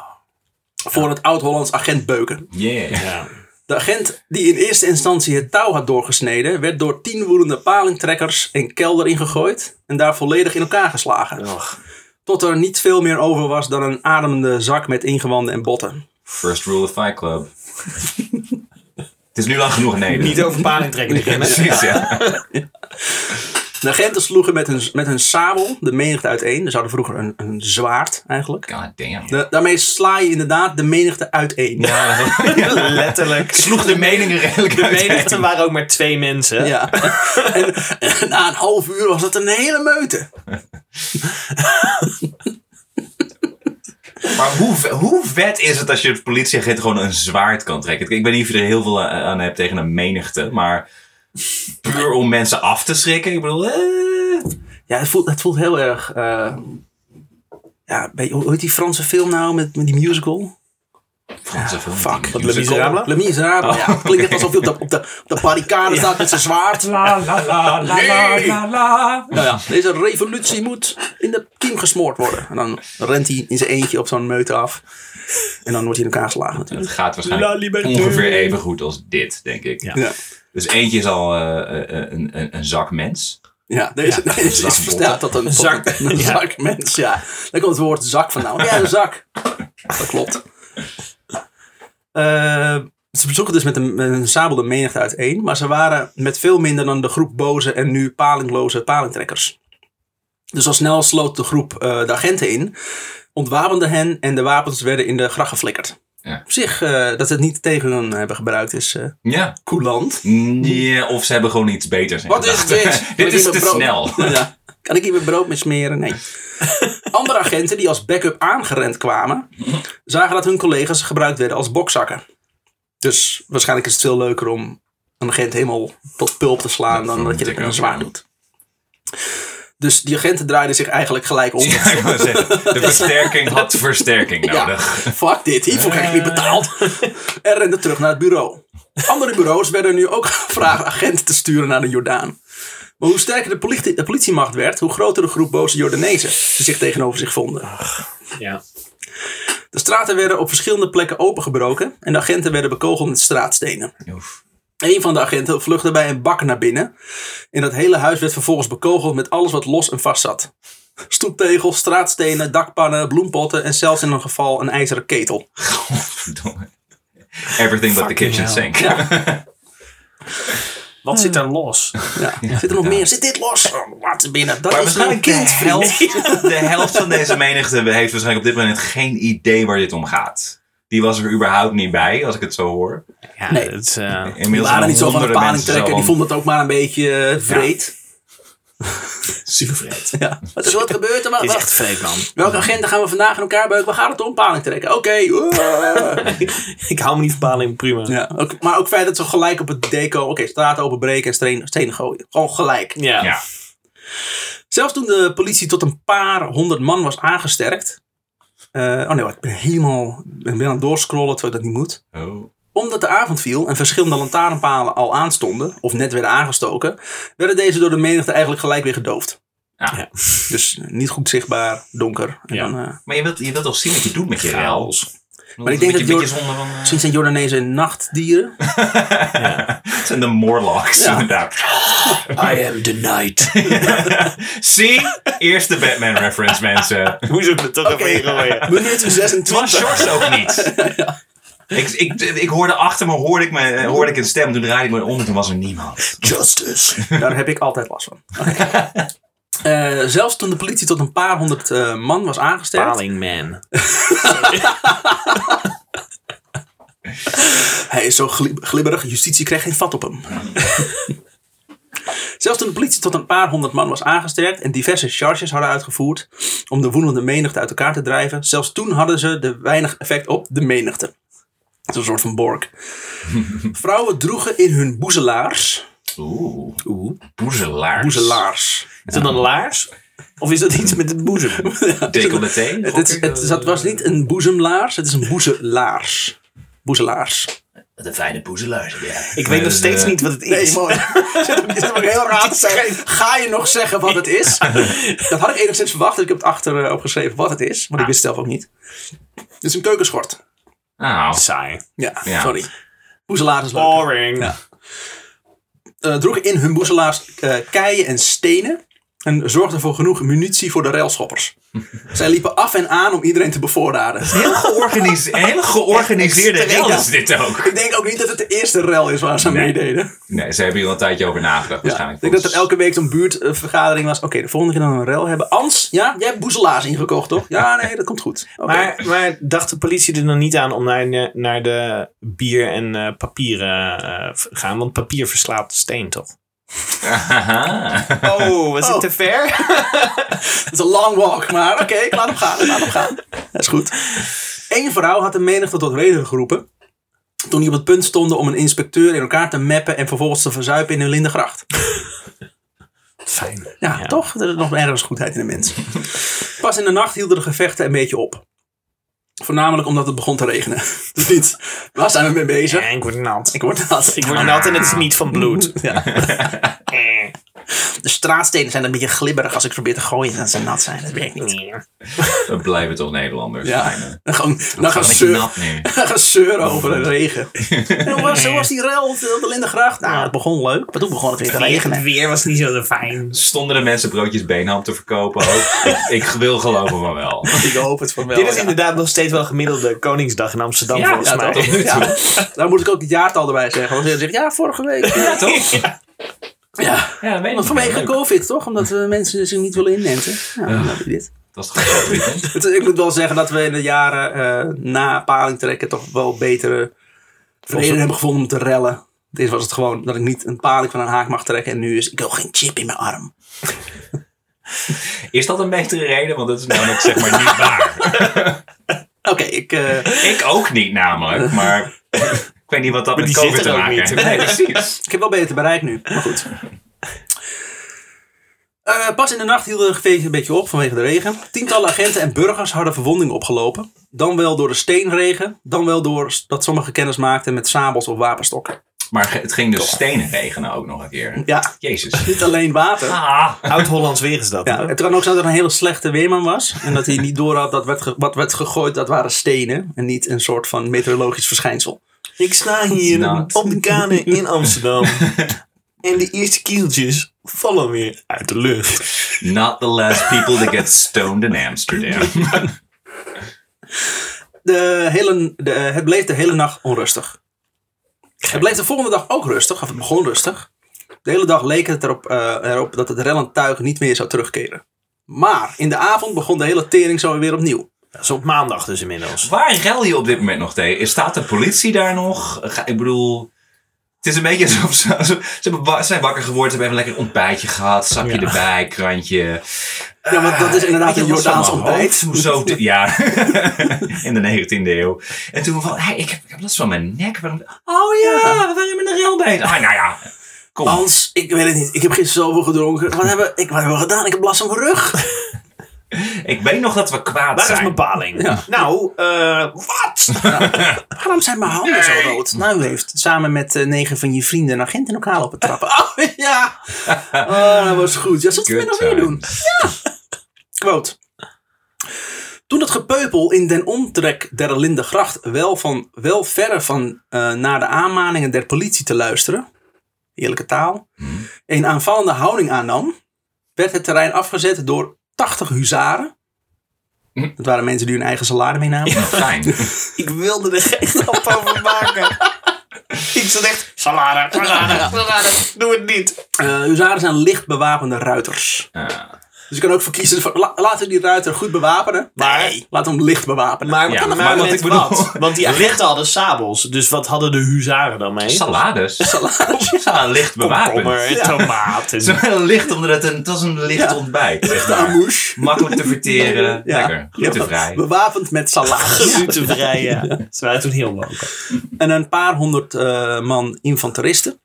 Voor het Oud-Hollands agent Beuken.
Yeah.
Ja.
De agent die in eerste instantie het touw had doorgesneden, werd door tien woedende palingtrekkers een kelder ingegooid en daar volledig in elkaar geslagen.
Och.
Tot er niet veel meer over was dan een ademende zak met ingewanden en botten.
First rule of Fight Club. het is nu lang genoeg neder.
Niet over paling trekken beginnen.
Precies, ja.
De agenten sloegen met hun, met hun sabel de menigte uiteen. Ze hadden vroeger een, een zwaard eigenlijk.
God damn.
De- daarmee sla je inderdaad de menigte uiteen. Ja.
Letterlijk.
sloeg de meningen redelijk
De menigte waren ook maar twee mensen.
en, en na een half uur was het een hele meute.
Maar hoe, ve- hoe vet is het als je als politieagent gewoon een zwaard kan trekken? Ik weet niet of je er heel veel a- aan hebt tegen een menigte, maar puur om mensen af te schrikken. Ik bedoel, eh,
Ja, het voelt, het voelt heel erg. eh, ja, een beetje- hoe hoe heet die Franse film nou met, met die musical?
Franse film.
Fuck.
Wat
Le Miserable? Oh.
Le Miserable, ja. Het klinkt net alsof je op de, op de, op de barricade staat met zijn zwaard.
La la la la la la la.
Nou ja, deze revolutie moet in de kiem gesmoord worden. En dan rent hij in zijn eentje op zo'n meute af. En dan wordt hij in elkaar geslagen natuurlijk.
Het gaat
La
waarschijnlijk
liberté.
ongeveer even goed als dit, denk ik.
Ja.
Ja,
Dus eentje is al eh, eh, een, een, een zak mens.
ja deze,
Ja,
deze
een
is bestaat tot een, tot
zak.
een- een
Ja.
zak mens, ja. Daar komt het woord zak vandaan. Ja, een zak. Dat klopt. Eh, ze bezoeken dus met een, met een sabel de menigte uiteen. Maar ze waren met veel minder dan de groep boze en nu palingloze palingtrekkers. Dus al snel sloot de groep eh, de agenten in, ontwapende hen en de wapens werden in de gracht geflikkerd.
Ja.
Op zich, eh, dat ze het niet tegen hun hebben gebruikt is eh
Ja.
coulant.
Nee, of ze hebben gewoon iets beters. in
Wat is
gedachten.
dit? Wat
dit
is
is te
mijn brood?
snel.
Ja. Kan ik hier mijn brood mee smeren? Nee. Andere agenten die als backup aangerend kwamen, zagen dat hun collega's gebruikt werden als bokzakken. Dus waarschijnlijk is het veel leuker om een agent helemaal tot pulp te slaan dan dat je dat met een zwaard doet. Dus die agenten draaiden zich eigenlijk gelijk om.
Ja, ik wou zeggen, de versterking had versterking
Ja,
nodig.
fuck dit, hiervoor krijg ik niet betaald. En rende terug naar het bureau. Andere bureaus werden nu ook gevraagd agenten te sturen naar de Jordaan. Maar hoe sterker de, politie, de politiemacht werd, hoe groter de groep boze Jordanezen die zich tegenover zich vonden.
Ja.
De straten werden op verschillende plekken opengebroken en de agenten werden bekogeld met straatstenen.
Oef.
Een van de agenten vluchtte bij een bak naar binnen. En dat hele huis werd vervolgens bekogeld met alles wat los en vast zat. Stoeptegels, straatstenen, dakpannen, bloempotten en zelfs in een geval een ijzeren ketel.
Godverdomme. Everything but the kitchen
hell.
sink.
Ja.
Wat zit er los?
Ja. Zit er nog meer? Zit dit los? Oh, laat ze binnen. Dat
Maar
is een
waarschijnlijk de
kind, vriend.
helft, de helft van deze menigte heeft waarschijnlijk op dit moment geen idee waar dit om gaat. Die was er überhaupt niet bij, als ik het zo hoor.
Ja,
Nee.
dat, eh,
Die
Inmiddels
waren niet zo van de
honderden
paling
mensen
trekken.
zo
Die vonden het ook maar een beetje eh, vreed.
super vreemd.
Ja. Wat is wat gebeurd? er? Wa-
Het is
wa-
echt vreemd, man.
Welke agenten gaan we vandaag in elkaar beuken? We gaan het om paling trekken. Oké. oeh.
Ik hou me niet van paling, prima. Ja.
ja. ook- maar ook feit dat ze gelijk op het deco... Oké, straat openbreken en steen- stenen gooien. Gewoon gelijk.
Ja.
Zelfs toen de politie tot een paar honderd man was aangesterkt. eh, oh nee, wacht, ik ben helemaal ik ben aan het doorscrollen terwijl dat niet moet.
Oh.
Omdat de avond viel en verschillende lantaarnpalen al aanstonden, of net werden aangestoken, werden deze door de menigte eigenlijk gelijk weer gedoofd.
Ja.
Ja.
Dus niet goed zichtbaar, donker. En
Ja.
dan, eh,
Maar je wilt, je wilt toch zien wat je doet met je rel?
Maar ik denk
Een
dat
beetje zonder van... eh,
misschien zijn Jordanezen nachtdieren.
Het zijn de Morlocks,
Ja.
inderdaad.
I am the night.
See? Eerste Batman-reference, mensen.
Hoe ze het toch
Oké.
even ingooien?
Minuut
Het was
26.
Sjors ook niet. Ik, ik, ik hoorde achter me, hoorde ik, me, eh, hoorde ik een stem. Toen draaide ik me om en toen was er niemand.
Justice.
Daar heb ik altijd last van. Oké. Eh, zelfs toen de politie tot een paar honderd eh, man was aangesteld.
Paling Man.
Hij is zo gli- glibberig, justitie krijgt geen vat op hem. Zelfs toen de politie tot een paar honderd man was aangesterkt en diverse charges hadden uitgevoerd om de woedende menigte uit elkaar te drijven, zelfs toen hadden ze de weinig effect op de menigte. Het is een soort van borg. Vrouwen droegen in hun boezelaars.
Oeh,
Oeh.
boezelaars.
Boezelaars.
Is dat een laars? Of is dat iets met het boezem?
Decolleté.
Het, is- het, dat was niet een boezemlaars, het is een boezelaars. Boezelaars.
De fijne boezelaars. Ja.
Ik weet nog steeds niet wat het is.
mooi. Dit is ook heel raar te zijn. Ga je nog zeggen wat het is? Dat had ik enigszins verwacht. en Ik heb het achter eh, opgeschreven wat het is. Want ik wist het zelf ook niet. Het is een keukenschort.
Nou,
Saai.
Ja, Oh.
Ja.
sorry. Boezelaars is leuk.
Boring.
Eh, droegen in hun boezelaars eh, keien en stenen. En zorgden voor genoeg munitie voor de railschoppers. Zij liepen af en aan om iedereen te bevoorraden.
heel, georganise- hele georganiseerde
Extreem.
rel is dit ook.
Ik denk ook niet dat het de eerste rel is waar ze aan meededen.
Nee, ze hebben hier al een tijdje over
Ja,
nagedacht waarschijnlijk.
ik denk dat er elke week zo'n buurtvergadering was. Oké, de volgende keer dan een rel hebben. Ans, ja, jij hebt boezelaars ingekocht, toch? Ja, nee, dat komt goed. Oké.
Maar, maar dacht de politie er dan niet aan om naar, de- naar de bier en eh, papieren eh, v- gaan? Want papier verslaapt steen toch?
Aha.
Oh, was
het te
ver?
Het is een long walk, maar oké, ik laat hem gaan. Ik laat hem gaan. Dat is goed. Eén vrouw had de menigte tot reden geroepen. Toen die op het punt stonden om een inspecteur in elkaar te meppen en vervolgens te verzuipen in hun lindengracht.
Fijn.
Ja,
Ja.
toch? Er is nog ergens goedheid in de mens. Pas in de nacht hielden de gevechten een beetje op. Voornamelijk omdat het begon te regenen. Dus niet, waar zijn we mee bezig?
Ja, ik word nat.
Ik word nat.
Ik word nat en het is niet van bloed.
Ja.
Eh,
De straatstenen zijn een beetje glibberig als ik probeer te gooien. Dat ze nat zijn, dat werkt niet.
nee.
We blijven toch Nederlanders.
Ja,
Fijn, hè?
dan gaan, dan gaan
Gewoon
ze
lekker
zeuren.
nat nu.
Dan gaan ze zeuren over de regen. En hoe was, hoe was die rel op de op de Lindengracht? Nou, het begon leuk, maar toen begon het weer te
Weer, het
regenen.
weer was niet zo fijn.
Stonden de mensen broodjes beenham te verkopen ook? ik, ik wil geloven van wel.
Ik hoop het voor wel.
Dit is
ja.
inderdaad nog steeds wel gemiddelde Koningsdag in Amsterdam
Ja,
volgens
Ja,
mij.
toch? Ja. Daar moet ik ook het jaartal erbij zeggen. Want ze zegt, ja, vorige week. Ja,
Toch?
ja.
Ja, weet
Want vanwege COVID, toch? Omdat eh, mensen zich niet willen inenten. Ja, dan heb je dit.
Dat is toch wel vriend, hè?
Het- ik moet wel zeggen dat we in de jaren eh, na paling trekken toch wel betere reden hebben gevonden om te rellen. Dit was het gewoon dat ik niet een paling van een haak mag trekken. En nu is, ik wil geen chip in mijn arm.
Is dat een betere reden? Want dat is namelijk zeg maar niet waar.
Oké, ik... eh,
Ik ook niet namelijk, maar ik weet niet wat dat
Maar
met
die
COVID
zit er
te
ook
maken
niet.
heeft. Nee, precies.
Ik heb wel beter bereik nu, maar goed. Eh, pas in de nacht hielden de gevechten een beetje op vanwege de regen. Tientallen agenten en burgers hadden verwondingen opgelopen. Dan wel door de steenregen, dan wel door s- dat sommigen kennis maakten met sabels of wapenstokken.
Maar het ging dus stenen regenen ook nog een keer.
Ja,
Jezus.
niet alleen water.
Ah.
Oud-Hollands weer is dat.
Oh.
Ja, het kan ook zijn dat er een hele slechte weerman was. En dat hij niet door had dat werd ge- wat werd gegooid, dat waren stenen. En niet een soort van meteorologisch verschijnsel.
Ik sta hier
Nat.
op de kade in Amsterdam. en de eerste kieltjes vallen weer uit de lucht.
Not the last people that get stoned in Amsterdam.
De hele, de, het bleef de hele nacht onrustig. Het bleef de volgende dag ook rustig, of het begon rustig. De hele dag leek het erop, eh, erop dat het rellend tuig niet meer zou terugkeren. Maar in de avond begon de hele tering zo weer opnieuw.
Dat is op maandag dus inmiddels.
Waar rel je op dit moment nog tegen? Staat de politie daar nog? Ga- Ik bedoel, het is een beetje alsof ze, alsof- ze, hebben wa- ze zijn wakker geworden, ze hebben even lekker een ontbijtje gehad, zakje
Ja.
erbij, krantje.
Ja, want dat is inderdaad
Eh, Weet
een
je, was
Jordaans
allemaal
ontbijt.
hoofd, Zo, te- ja, in de 19e eeuw. En toen van, hey, ik, heb, ik heb last van mijn nek. Waarom- oh ja, we waren met een rel bezig. Ah, nou ja, kom.
Hans, ik weet het niet. Ik heb gisteren zoveel gedronken. Wat hebben, ik, wat hebben we gedaan? Ik heb last van mijn rug.
Ik weet nog dat we kwaad
Waar is
zijn.
mijn paling? Nou, eh, wat?
Waarom zijn mijn handen zo rood? Nou, u heeft samen met eh, negen van je vrienden een agent in elkaar lopen trappen. Oh, ja. Oh, dat was goed. Ja, zullen we het nog
Good
weer doen?
times.
Quote. Toen het gepeupel in den omtrek der Lindegracht wel, van, wel verre van eh, naar de aanmaningen der politie te luisteren, eerlijke taal,
Hmm.
een aanvallende houding aannam, werd het terrein afgezet door 80 huzaren.
Hm.
Dat waren mensen die hun eigen salade meenamen.
Ja, fijn.
Ik wilde er geen grap over maken. team zat echt... Salade, salade, salade. Doe het niet.
Eh huzaren zijn licht bewapende ruiters.
Ah.
Dus je kan ook voor kiezen, van, la- laten we die ruiter goed bewapenen. Maar
Nee.
laten we hem licht bewapenen.
Maar,
Ja,
maar,
maar wat
met
ik bedoel-
wat? Want die agenten hadden sabels. Dus wat hadden de huzaren dan mee?
Salades. Salades. licht bewapend.
Komkommer en tomaten.
Zo heel licht, omdat het een, het was een licht
Ja.
ontbijt. zeg
de
maar.
amouche.
Makkelijk te verteren. Lekker. Glutenvrij.
Bewapend met salade.
Glutenvrij, ja. Ze waren toen heel leuk.
en een paar honderd eh, man infanteristen.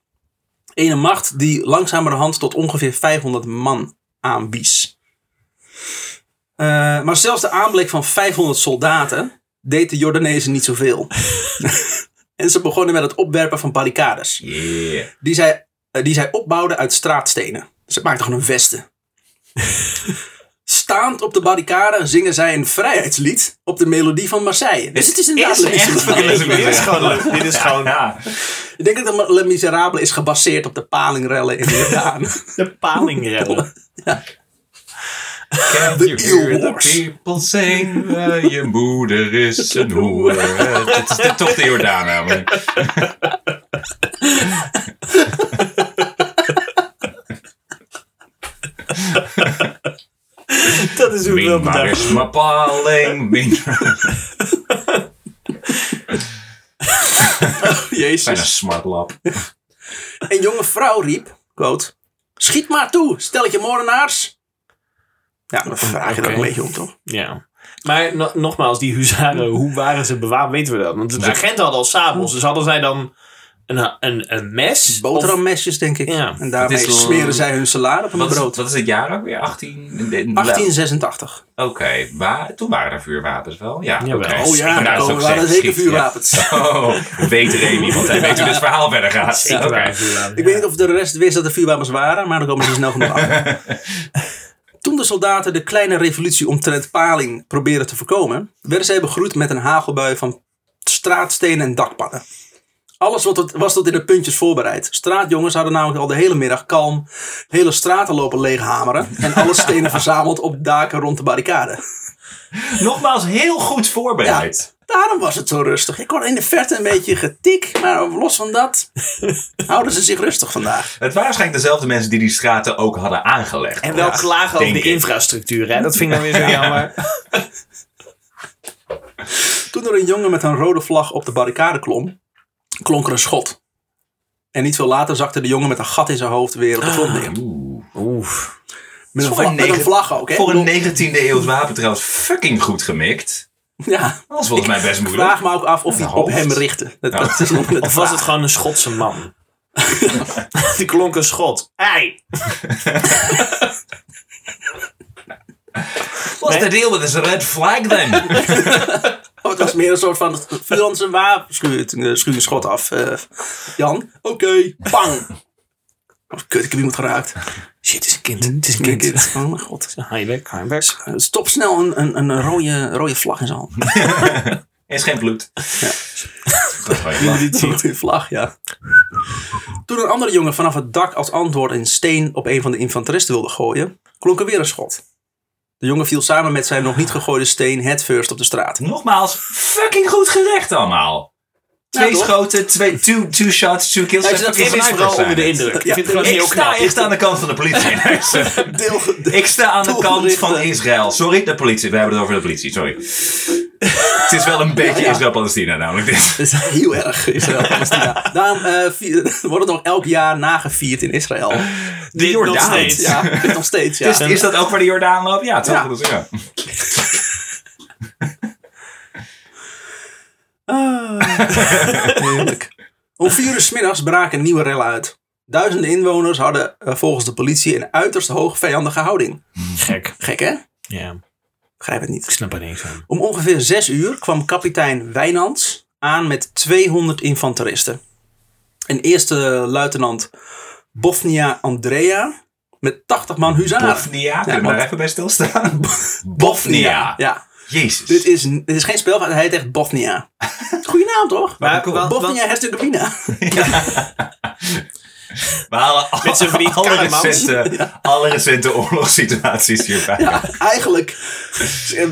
Ene macht die langzamerhand tot ongeveer 500 man aanwies. Eh, maar zelfs de aanblik van 500 soldaten deed de Jordanezen niet zoveel. en ze begonnen met het opwerpen van barricades.
Yeah.
die zij, eh, die zij opbouwden uit straatstenen. Dus het maakte gewoon een vesten. Staand op de barricade zingen zij een vrijheidslied op de melodie van Marseille. Dus het is inderdaad
Is
Les
echt
Miserables.
van-
Dit is gewoon leuk. Dit is gewoon...
Ja.
Ik denk dat de Les Miserables is gebaseerd op de palingrellen in Jordaan.
De palingrellen.
Can
The
you hear the
Eelmoors.
people sing? Eh, je moeder is een hoer. Eh, Dit is de- toch de Jordaan namelijk.
Dat is hoe ik wel
Mien maar
bedacht.
is mijn paling. Mien Bijna
Jezus.
smartlap.
Een jonge vrouw riep, quote, schiet maar toe, stelletje moordenaars. Ja, dan vraag je
Oké.
dat een beetje om, toch?
Ja. Maar no- nogmaals, die huzaren, hoe waren ze bewaard, weten we dat. Want de
Nee.
agenten hadden al sabels, dus hadden zij dan een, een, een mes? Of-
Boterhammesjes, denk ik.
Ja.
En daarmee
Het is-
smeren zij hun salade op hun
Wat is,
brood.
wat is het jaar ook weer? 18? de- de-
1886.
Oké, wa- toen waren er vuurwapens wel. Ja,
Jawel.
oké.
Oh ja,
Nou, dat
daar
is ook
komen- waren
slecht
zeker
geschikt, ja.
vuurwapens.
Oh, weet Remy, want hij weet hoe dit verhaal verder gaat.
Zeker
Oké.
waar, huzaren,
Ik
ja.
weet niet of de rest wist dat er vuurwapens waren, maar daar komen ze snel genoeg af. Toen de soldaten de kleine revolutie omtrent Paling probeerden te voorkomen, werden zij begroet met een hagelbui van straatstenen en dakpannen. Alles wat het- was tot in de puntjes voorbereid. Straatjongens hadden namelijk al de hele middag kalm hele straten lopen leeghameren en alle stenen verzameld op daken rond de barricade.
Nogmaals, heel goed voorbereid.
Daarom was het zo rustig. Ik hoorde in de verte een beetje getik, maar los van dat houden ze zich rustig vandaag.
Het waren waarschijnlijk dezelfde mensen die die straten ook hadden aangelegd.
En wel
Ja,
klagen over
denk
de
ik.
infrastructuur, hè? Dat vind ik dan weer zo jammer.
Toen er een jongen met een rode vlag op de barricade klom, klonk er een schot. En niet veel later zakte de jongen met een gat in zijn hoofd weer op de grond
Ah,
neer.
Oeh.
Oef.
Met een,
Voor een
vla- met
negen-
een vlag ook, hè?
Voor
Ik
een
bedoel,
19e eeuws wapen trouwens fucking goed gemikt.
Ja.
Dat was volgens mij best
Ik
moeilijk.
Vraag me ook af of hij
Een
op
hoofd.
hem richtte. Dat,
Ja.
dat is nog net de
Of was
vraag.
het gewoon een Schotse man? Die klonk een schot. Ei!
What's the deal with this red flag then?
Oh, het was meer een soort van vuur aan zijn wapen. Schuur het- eh, schuur een schot af. eh, Jan, oké, bang. Oh, kut, ik heb iemand geraakt.
Shit, het is een kind. Het is een kind.
Oh mijn god.
Heimwerk, heimwerk.
Stop snel een, een, een rode, rode vlag in zijn hand.
Er is geen bloed. Dat was
Die
wel-
dit ziet. Die vlag, ja. Toen een andere jongen vanaf het dak als antwoord een steen op een van de infanteristen wilde gooien, klonk er weer een schot. De jongen viel samen met zijn nog niet gegooide steen headfirst op de straat.
Nogmaals, fucking goed gerecht allemaal. Twee
toch?
schoten, twee two, two shots, two kills.
Ja,
en
ik zit
Ik
fucking
ben
snipers
vooral
zijn
onder de
het.
indruk.
Ja,
Ik vind het gewoon
Ik
heel
sta
knap.
echt aan de kant van de politie.
Deel, de-
Ik sta aan de kant
Toegelichte.
van Israël. Sorry, de politie. We hebben het over de politie, sorry. Het is wel een beetje Israël-Palestina namelijk dit.
dat is heel erg Israël-Palestina. Daarom eh, vier- wordt het nog elk jaar nagevierd in Israël.
De
Jordaan.
Ja, dit nog steeds. Ja.
Is, is dat ook waar de Jordaan loopt? Ja, toch?
Ja.
Dat is- ja.
Heerlijk. eh, Om vier uur 's middags braken nieuwe rellen uit. Duizenden inwoners hadden eh, volgens de politie een uiterst hoog vijandige houding.
Gek.
Gek hè?
Ja,
Begrijp het niet.
ik snap er niks van.
Om ongeveer zes uur kwam kapitein Wijnands aan met 200 infanteristen. En eerste luitenant Bofnia Andrea met 80 man huzaren.
Bofnia. Kunnen we
want-
daar even bij stilstaan? Bofnia.
Ja,
Jezus.
dit is, dit is geen spel, hij heet echt Bofnia. Goeie naam toch?
Maar
cool.
wat, wat,
Bofnia Herzegovina.
We halen al-
Met zijn vriend
alle
Karlemans.
recente, alle recente oorlogssituaties hierbij.
Ja, eigenlijk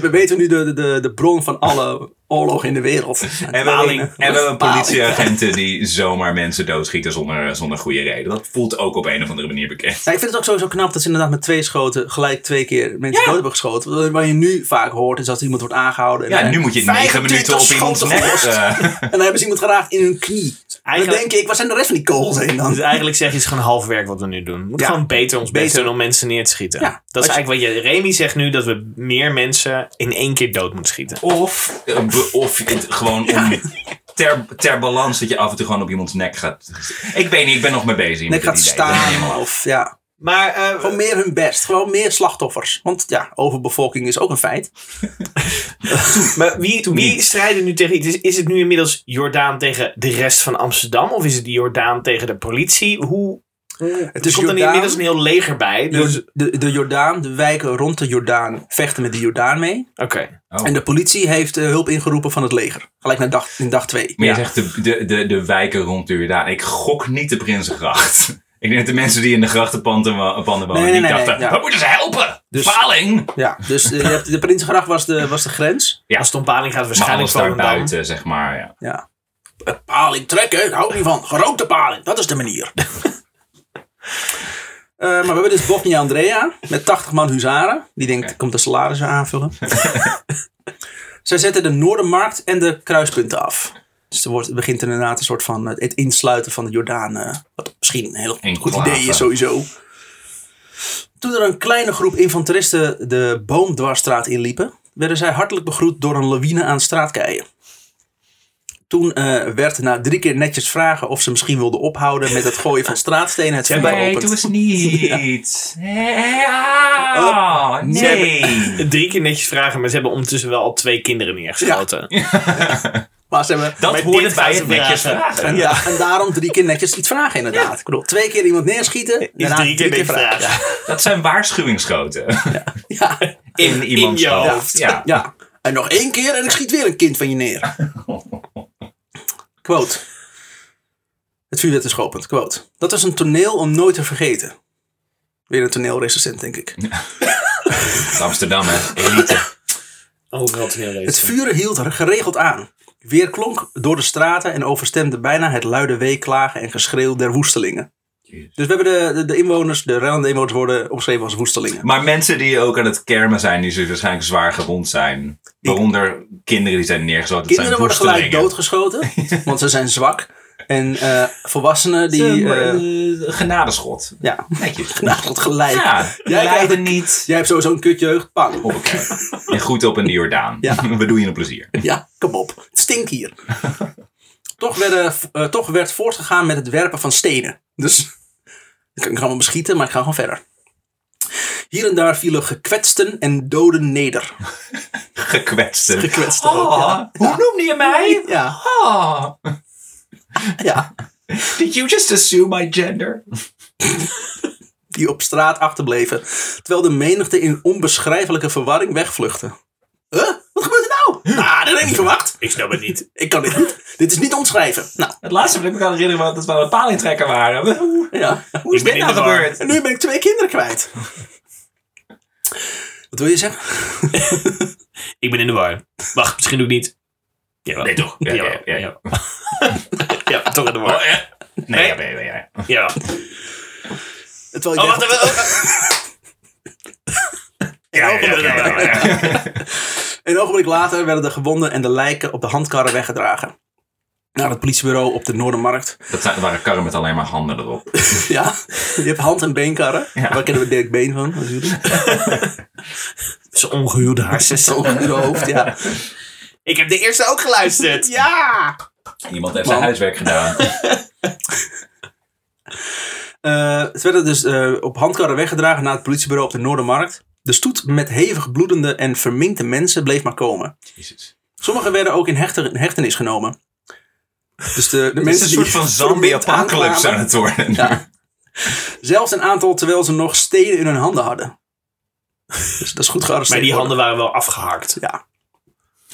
we weten nu de, de, de bron van alle oorlogen in de wereld.
En we, hebben,
Paling.
en we hebben
Paling.
politieagenten die zomaar mensen doodschieten zonder, zonder goede reden. Dat voelt ook op een of andere manier bekend.
Ja, ik vind het ook sowieso knap dat ze inderdaad met twee schoten gelijk twee keer mensen dood hebben geschoten. Wat- Wat je nu vaak hoort is dat iemand wordt aangehouden. En,
Ja,
en-
nu moet je negen
25
minuten op iemands
schoten
nek. eh,
en dan hebben ze iemand geraakt in hun knie. En dan
Eigenlijk-
denk ik, waar zijn de rest van die kogels heen dan?
Dus eigenlijk zeg je, het is gewoon half werk wat we nu doen. We moeten
Ja.
gewoon beter ons best
Beter.
doen om mensen neer te schieten.
Ja.
Dat is
Als je-
eigenlijk wat je... Remy zegt nu dat we meer mensen in één keer dood moeten schieten.
of eh, be- of het gewoon om, ter, ter balans dat je af en toe gewoon op iemands nek gaat. Ik weet niet, ik ben nog mee bezig.
En
met
ik gaat
dit idee. Dat is helemaal-
staan of ja.
Maar eh,
Gewoon meer hun best. Gewoon meer slachtoffers. Want ja, overbevolking is ook een feit.
Maar wie, wie strijden nu tegen iets? Is, is het nu inmiddels Jordaan tegen de rest van Amsterdam? Of is het Jordaan tegen de politie? Hoe,
Het
er komt er
Dus Jordaan.
inmiddels een heel leger bij. Dus,
Jor- de, de Jordaan, de wijken rond de Jordaan vechten met de Jordaan mee.
Oké.
Oh.
En de politie heeft eh, hulp ingeroepen van het leger. Gelijk naar dag, in dag twee.
Maar je
Ja.
zegt de, de, de, de wijken rond de Jordaan. Ik gok niet de Prinsengracht. Ik denk dat de mensen die in de grachtenpanden wo- panden
Nee,
wonen,
nee,
die
nee,
dachten,
nee, ja.
we moeten ze helpen!
Dus-
Paling!
Ja, dus eh, je hebt- de Prinsengracht was de, was de grens.
Ja.
Als het om Paling gaat,
Maar
waarschijnlijk
alles daar
Volendam.
buiten, zeg maar. Ja.
Ja. Eh, Paling trekken, ik hou niet van. Gerookte paling, dat is de manier. Eh, maar we hebben dus Bosnia Andrea met 80 man huzaren. Die denkt,
Oké.
komt de salarissen aanvullen. Zij zetten de Noordermarkt en de kruispunten af. Dus er wordt, het begint inderdaad een soort van eh, het insluiten van de Jordaan. eh, wat misschien een heel
Enclave.
goed idee is sowieso. Toen er een kleine groep infanteristen de boomdwarsstraat inliepen, werden zij hartelijk begroet door een lawine aan straatkeien. Toen eh, werd na drie keer netjes vragen of ze misschien wilden ophouden met het gooien van straatstenen het vuur
Nee, doe
geopend.
eens niet. Nee, ah, nee.
Drie keer netjes vragen, maar ze hebben ondertussen wel al twee kinderen neergeschoten.
Maar ze hebben,
Dat
Met
hoorde
dit
bij
gaan
het
ze
netjes
vragen.
vragen.
en, ja, en daarom drie keer netjes iets vragen inderdaad. Ik bedoel, twee keer iemand neerschieten, daarna
drie keer netjes
Dat zijn waarschuwingsschoten.
Ja. Ja.
In iemands
je
hoofd.
hoofd.
Ja.
Ja. En nog één keer en ik schiet weer een kind van je neer. Quote. Het vuur werd dus geopend. Quote. Dat is een toneel om nooit te vergeten. Weer een toneelrecensent, denk ik.
Amsterdam, hè. Elite.
Overal te heel
Het vuur hield er geregeld aan. Weer klonk door de straten en overstemde bijna het luide weeklagen en geschreeuw der woestelingen. Dus we hebben de, de, de inwoners, de ruilende inwoners worden omschreven als woestelingen.
Maar mensen die ook aan het kermen zijn, die zullen waarschijnlijk zwaar gewond zijn. Waaronder kinderen die zijn neergeschoten. Dat
Kinderen
zijn
worden gelijk
woestelingen.
doodgeschoten, want ze zijn zwak. En eh, volwassenen die... eh,
Eh, genadeschot.
ja,
Netjes.
nou, dat gelijk.
Ja,
Jij
lijden
krijgt-
niet.
Jij hebt sowieso een kutjeugd. Pang.
Hoppakee. En goed op in de Jordaan.
Ja.
We doen je een plezier.
Ja, kom op. Het stinkt hier. toch, werden, eh, toch werd voortgegaan met het werpen van stenen. Dus ik kan hem beschieten, maar ik ga gewoon verder. Hier en daar vielen gekwetsten en doden neder.
Gekwetsten.
Gekwetsten ook,
Oh,
ja.
Hoe noemde je mij?
Ja,
Oh,
ja.
did you just assume my gender?
Die op straat achterbleven. Terwijl de menigte in onbeschrijfelijke verwarring wegvluchtte. Huh? Wat gebeurt er nou? Ah, dat heb ik niet verwacht.
Ik snap het niet.
Ik kan dit niet. Dit is niet omschrijven. Nou,
Het laatste wat ik me kan herinneren was dat we aan een palingtrekker waren. Hoe,
ja.
hoe is
Ik ben
dit
in
nou
de war.
gebeurd?
En nu ben ik twee kinderen kwijt. Wat wil je zeggen?
Ik ben in de war. Wacht, misschien doe ik niet. Ja, nee, toch? Ja,
Ja,
ja,
ja,
ja,
ja.
toch in de war.
Oh, Nee,
Nee.
ja, nee, nee, ja.
Ja.
Terwijl
Oh,
je
wacht
denkt-
even. Ja, ja, ja, ja, ja, ja.
Een ogenblik later werden de gewonden en de lijken op de handkarren weggedragen. Naar het politiebureau op de Noordermarkt.
Dat zijn- waren karren met alleen maar handen erop.
Ja, je hebt hand- en beenkarren.
Ja.
Waar kennen we Dirk Been van? Natuurlijk.
Zijn ongehuwde hartstikke.
Zo'n goede hoofd, ja.
Ik heb de eerste ook geluisterd.
Ja!
Iemand heeft
Man.
zijn huiswerk gedaan.
het werden dus eh, op handkarren weggedragen naar het politiebureau op de Noordermarkt. De stoet met hevig bloedende en verminkte mensen bleef maar komen.
Jezus.
Sommigen werden ook in hechter- in hechtenis genomen. Dus de, de
Het is
mensen
een
die
soort van
verminkt
zombie-apocalypse aan
aankwamen.
het worden.
Ja. Zelfs een aantal terwijl ze nog stenen in hun handen hadden. Dus dat is goed
Maar
gearresteerd.
die
worden.
handen waren wel afgehakt.
Ja.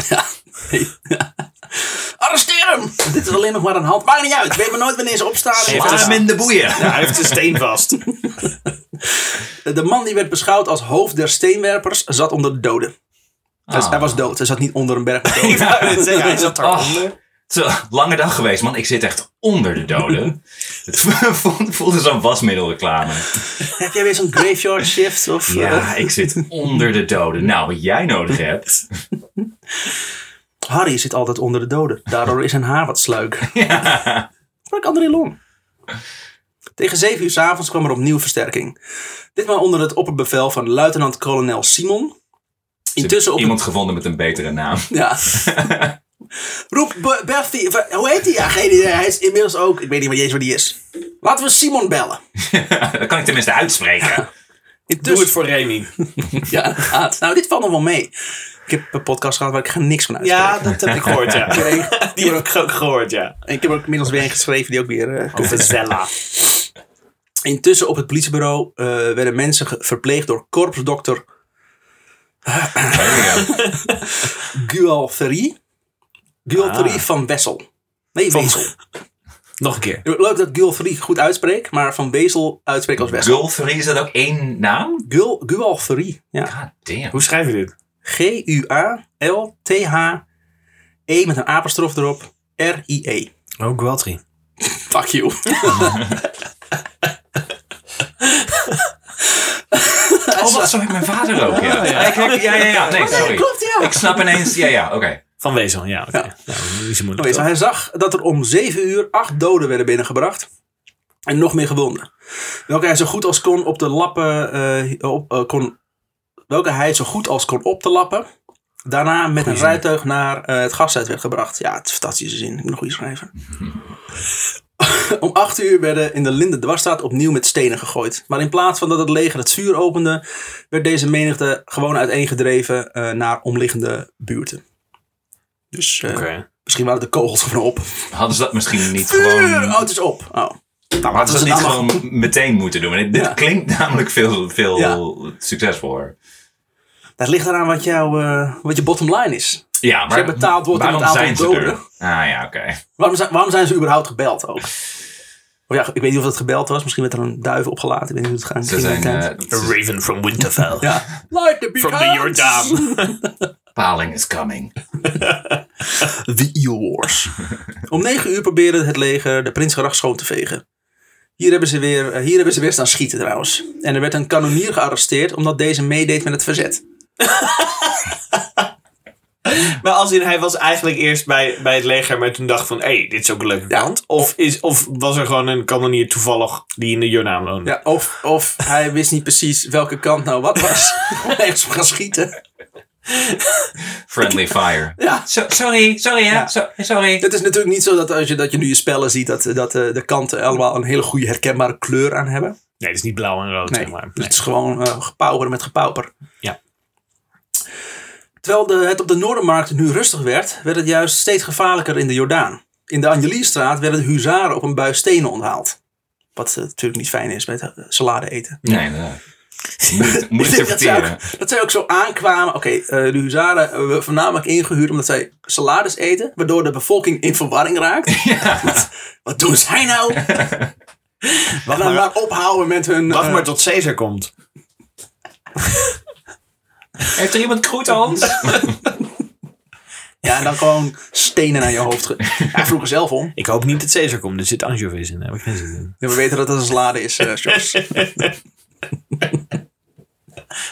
Ja. Nee. Arresteer hem! Dit is een alleen nog maar een hand. Maakt niet uit. Weet maar nooit wanneer ze opstaan.
Heeft
Maar
dus-
hem in de boeien.
Ja, hij heeft een steen vast.
De man die werd beschouwd als hoofd der steenwerpers zat onder de doden. Dus
Ah.
Hij was dood. Hij zat niet onder een berg. met doden.
Ik wou net zeggen, hij zat
Ach.
daaronder.
Het is een lange dag geweest, man. Ik zit echt onder de doden. Het voelde- voelde zo'n wasmiddelreclame.
Heb jij weer zo'n graveyard shift? Of, eh,
Ja, ik zit onder de doden. Nou, wat jij nodig hebt.
Harry zit altijd onder de doden. Daardoor is zijn haar wat sluik.
Ja.
Sprak André Long. Tegen zeven uur 's avonds kwam er opnieuw versterking. Ditmaal onder het opperbevel van luitenant-kolonel Simon. Intussen op het-
Iemand gevonden met een betere naam.
Ja. Roep Be- Bertie. Ver- Hoe heet hij? Ja, geen idee. Hij is inmiddels ook. Ik weet niet meer eens waar die is. Laten we Simon bellen.
Dat kan ik tenminste uitspreken.
Doe
Intussen-
het voor Remy.
Ja, inderdaad. Nou, dit valt nog wel mee. Ik heb een podcast gehad waar ik ga niks van uitspreken.
Ja, dat heb ik gehoord, ja. Die heb ik ook gehoord, ja.
Ik heb er ook inmiddels weer een geschreven die ook weer... eh,
Over Zella.
Intussen op het politiebureau eh, werden mensen ge- verpleegd door korpsdokter Oh,
Ja.
Gual Ferry. Gual Ferry van Wessel. Nee, Wessel.
Nog een keer.
Leuk dat Gual Ferry goed uitspreek, maar van Wessel uitspreek als Wessel.
Gulfery, is dat ook één naam?
Gual, Gual Ferry. Ja.
God damn.
Hoe schrijf je dit?
G-U-A-L-T-H-E E met een apostrof erop. R-I-E.
Oh, Gualtry.
Fuck you.
Oh, wat, zo heet mijn vader ook. Ja,
ja.
ja. Ik, heb- ja, ja, ja. Nee, sorry.
Oh, Klopt, ja.
Ik snap ineens. Ja, ja, oké.
Van Wezel, ja. oké. Nou, niet zo
Oké,
moeilijk.
zo hij zag dat er om 7 uur acht doden werden binnengebracht. En nog meer gewonden. Welke hij zo goed als kon op de lappen. eh, op, eh, kon, welke hij zo goed als kon op te lappen. Daarna met een rijtuig naar eh, het gashuis werd gebracht. Ja, het is een fantastische zin. Ik moet nog goed schrijven. Om 8 uur werden in de Linde dwarsstraat opnieuw met stenen gegooid. Maar in plaats van dat het leger het vuur opende, werd deze menigte gewoon uiteengedreven eh, naar omliggende buurten. Dus eh,
Oké.
Misschien waren het de kogels gewoon op.
Hadden ze dat misschien niet
Vuur!
gewoon...
Oh, het is op. Oh.
Nou, hadden ze dat niet
dan
gewoon meteen moeten doen. Dit, dit
Ja.
klinkt namelijk veel, veel succesvoller.
Dat ligt eraan wat, jouw, eh, wat je bottom line is.
Ja, maar
Als je betaald wordt aan
waarom
het aantal
zijn ze
doden?
er? Ah ja, oké.
Waarom zijn, waarom zijn ze überhaupt gebeld ook? Of ja, ik weet niet of dat gebeld was. Misschien werd er een duif opgelaten. Ik weet niet hoe het gaat.
Ze zijn
ja.
eh,
A raven from Winterfell.
Light the
From the Jordaan.
Paling is coming.
The Eowars. Om negen uur probeerde het leger de Prinsgracht schoon te vegen. Hier hebben, ze weer, eh, hier hebben ze weer staan schieten trouwens. En er werd een kanonier gearresteerd omdat deze meedeed met het verzet.
Maar als in, hij was eigenlijk eerst bij, bij het leger, maar toen dacht van, hé, hey, dit is ook een leuke
Ja.
kant. Of, is, of was er gewoon een kanonier toevallig die in de Jordaan woonde?
Ja, of, of hij wist niet precies welke kant nou wat was. Om ergens op gaan schieten.
Friendly fire.
Ja.
So- sorry, sorry hè. So- sorry.
Het is natuurlijk niet zo dat als je, dat je nu je spellen ziet, dat, dat eh, de kanten allemaal een hele goede herkenbare kleur aan hebben.
Nee, het is niet blauw en rood,
Nee,
zeg maar.
Dus het is gewoon eh, gepauwer met gepauper.
Ja.
Terwijl de, het op de Noordermarkt nu rustig werd, werd het juist steeds gevaarlijker in de Jordaan. In de Angeliestraat werden de huzaren op een buis stenen onthaald. Wat eh, natuurlijk niet fijn is bij het eh, salade eten.
Nee, inderdaad. Moeilijk,
Ik
moeilijk te
denk dat, zij
verteren.
ook, dat zij ook zo aankwamen. Oké, eh, de huzaren eh, werden voornamelijk ingehuurd omdat zij salades eten. Waardoor de bevolking in verwarring raakt.
Ja.
Wat doen zij nou? Wacht maar, maar ophouden met hun...
Wacht
eh,
maar tot Caesar komt.
Heeft er iemand groet aan ons?
Ja, en dan gewoon stenen aan je hoofd. ge- Hij vroeg er zelf om.
Ik hoop niet dat Caesar komt, er zit anchovies in. Daar heb ik geen zin in.
Ja, we weten dat het een salade is, eh Sjors.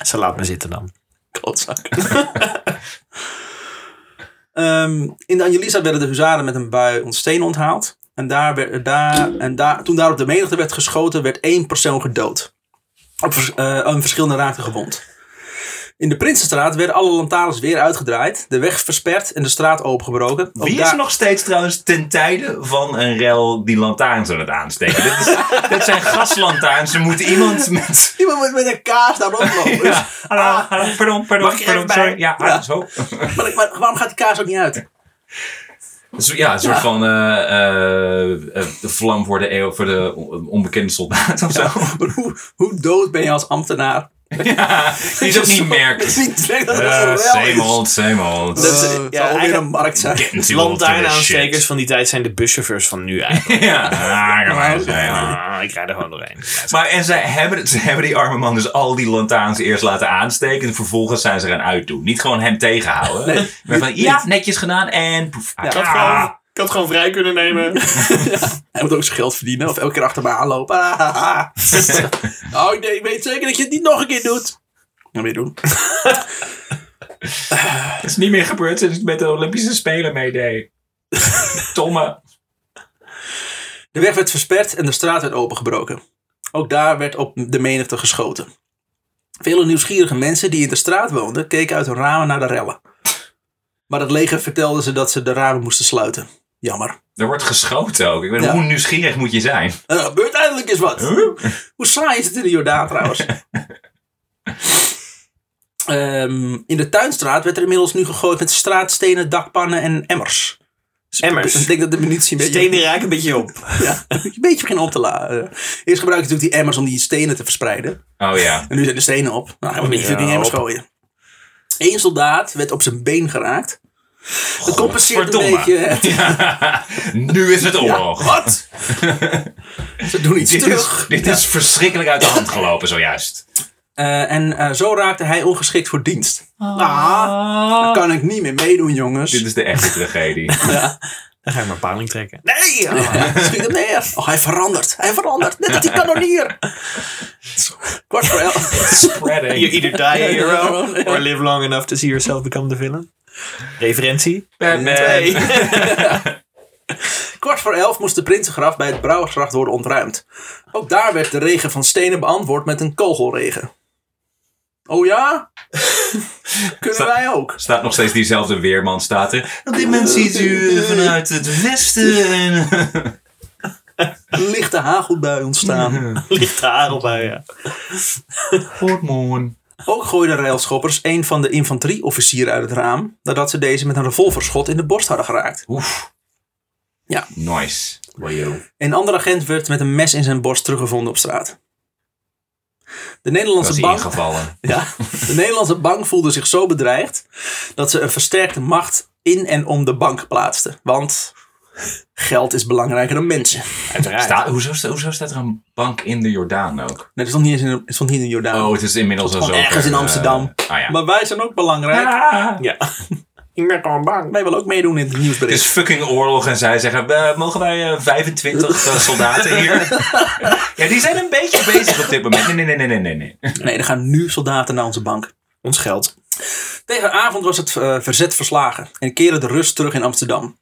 Ze laat me zitten dan.
Klootzak. Ehm, in de Angelisa werden de huzaren met een bui ontsteen onthaald. En, daar werd, daar, en daar, toen daar op de menigte werd geschoten, werd één persoon gedood. Op, vers- eh, een verschillende raakte gewond. In de Prinsenstraat werden alle lantaarns weer uitgedraaid, de weg versperd en de straat opengebroken. Ook
Wie is
daar-
nog steeds trouwens ten tijde van een rel die lantaarns aan het aansteken? Dit, is, dit zijn gaslantaarns. Er moet iemand met...
Iemand moet met een kaars daarop lopen.
Ja. Hallo, hallo, Ah, pardon, pardon,
Mag ik er
pardon,
even bij?
sorry. Ja, ah,
Ja.
zo.
Dus- maar, maar waarom gaat die kaars ook niet uit?
Dus ja, een soort van eh, eh, eh, de vlam voor de eeuw, voor de on- onbekende soldaat of zo.
Maar hoe, hoe dood ben je als ambtenaar
Ja, die is ook niet merkt. Eh, same old, same old. Eh,
Dat is
Eh,
zou
ja,
alweer
eigenlijk-
een markt zijn.
Getting too old for this
Lantaarnaanstekers van die tijd zijn de buschauffeurs van nu eigenlijk.
shit. Ja, ah, maar, ja.
Ah, ik rijd er gewoon doorheen.
Maar en zij hebben, het- ze hebben die arme man dus al die lantaarns eerst laten aansteken. En vervolgens zijn ze gaan uitdoen. Niet gewoon hem tegenhouden. maar van, ja, netjes gedaan en poef.
Ik had,
Ah.
gewoon, ik had gewoon vrij kunnen nemen.
Hij moet ook zijn geld verdienen. Of elke keer achter me aanlopen. Ah, ah, ah. oh nee, ik weet zeker dat je het niet nog een keer doet. Dan weer doen.
Het is niet meer gebeurd sinds ik met de Olympische Spelen meedeed. Tomme.
De weg werd versperd en de straat werd opengebroken. Ook daar werd op de menigte geschoten. Vele nieuwsgierige mensen die in de straat woonden, keken uit hun ramen naar de rellen. Maar het leger vertelde ze dat ze de ramen moesten sluiten. Jammer.
Er wordt geschoten ook. Ik weet,
Ja.
Hoe nieuwsgierig moet je zijn?
Er gebeurt eindelijk eens wat. Hoe saai is het in de Jordaan trouwens? Ehm, in de tuinstraat werd er inmiddels nu gegooid met straatstenen, dakpannen en emmers. Dus
Emmers.
Ik denk dat de munitie een beetje,
Stenen raken een beetje op.
ja, een beetje begint op te laden. Eerst gebruikten natuurlijk die emmers om die stenen te verspreiden.
Oh ja.
En nu zijn de stenen op. Nou, gaan we niet
Ja,
die emmers
op.
gooien. Eén soldaat werd op zijn been geraakt. Dat compenseert een
Godverdomme.
beetje. hè.
Ja, nu is het oorlog.
Wat? Ze doen iets
Dit,
terug.
is, dit is verschrikkelijk uit de hand gelopen zojuist.
Eh, en eh, zo raakte hij ongeschikt voor dienst. Ah, daar kan ik niet meer meedoen, jongens.
Dit is de echte tragedie.
Dan ga ik maar paling trekken.
Nee! ah, schiet hem neer. Oh, hij verandert. Hij verandert. Net als die kanonier. Kwart voor elf.
You
Spreading.
either die a hero
Ja.
or live long enough to see yourself become the villain. Referentie? Eh,
Batman.
Kwart voor elf moest de Prinsengracht bij het Brouwersgracht worden ontruimd. Ook daar werd de regen van stenen beantwoord met een kogelregen. Oh ja? Kunnen wij ook?
Staat nog steeds diezelfde weerman staat er. Op dit moment ziet u eh, vanuit het westen. En,
Een lichte hagelbui ontstaan.
Ligt de haar bij, ja.
Portmoon.
Ook gooiden railschoppers een van de infanterieofficieren uit het raam... nadat ze deze met een revolverschot in de borst hadden geraakt.
Oef.
Ja.
Nice.
Een andere agent werd met een mes in zijn borst teruggevonden op straat. De
Dat is
Nederlandse, bank,
ingevallen.
ja, de Nederlandse bank voelde zich zo bedreigd dat ze een versterkte macht in en om de bank plaatste. Want geld is belangrijker dan mensen.
Uiteraard.
Staat, hoezo, sta- hoezo staat er een bank in de Jordaan ook?
Nee, dat stond niet eens in, het stond niet in Jordaan.
Oh, het is inmiddels al zo.
Gewoon ergens in
ver,
Amsterdam.
eh, ah ja.
Maar wij zijn ook belangrijk.
Ah,
Ja. Ik ben gewoon bang.
Wij willen ook meedoen in het
het is
nieuwsbericht.
fucking oorlog en zij zeggen, "Eh, mogen wij eh, 25 soldaten hier? ja, die zijn een beetje bezig op dit moment. Nee, nee, nee, nee, nee, nee.
Nee, er gaan nu soldaten naar onze bank.
Ons geld.
Tegen avond was het eh, verzet verslagen en keerde de rust terug in Amsterdam.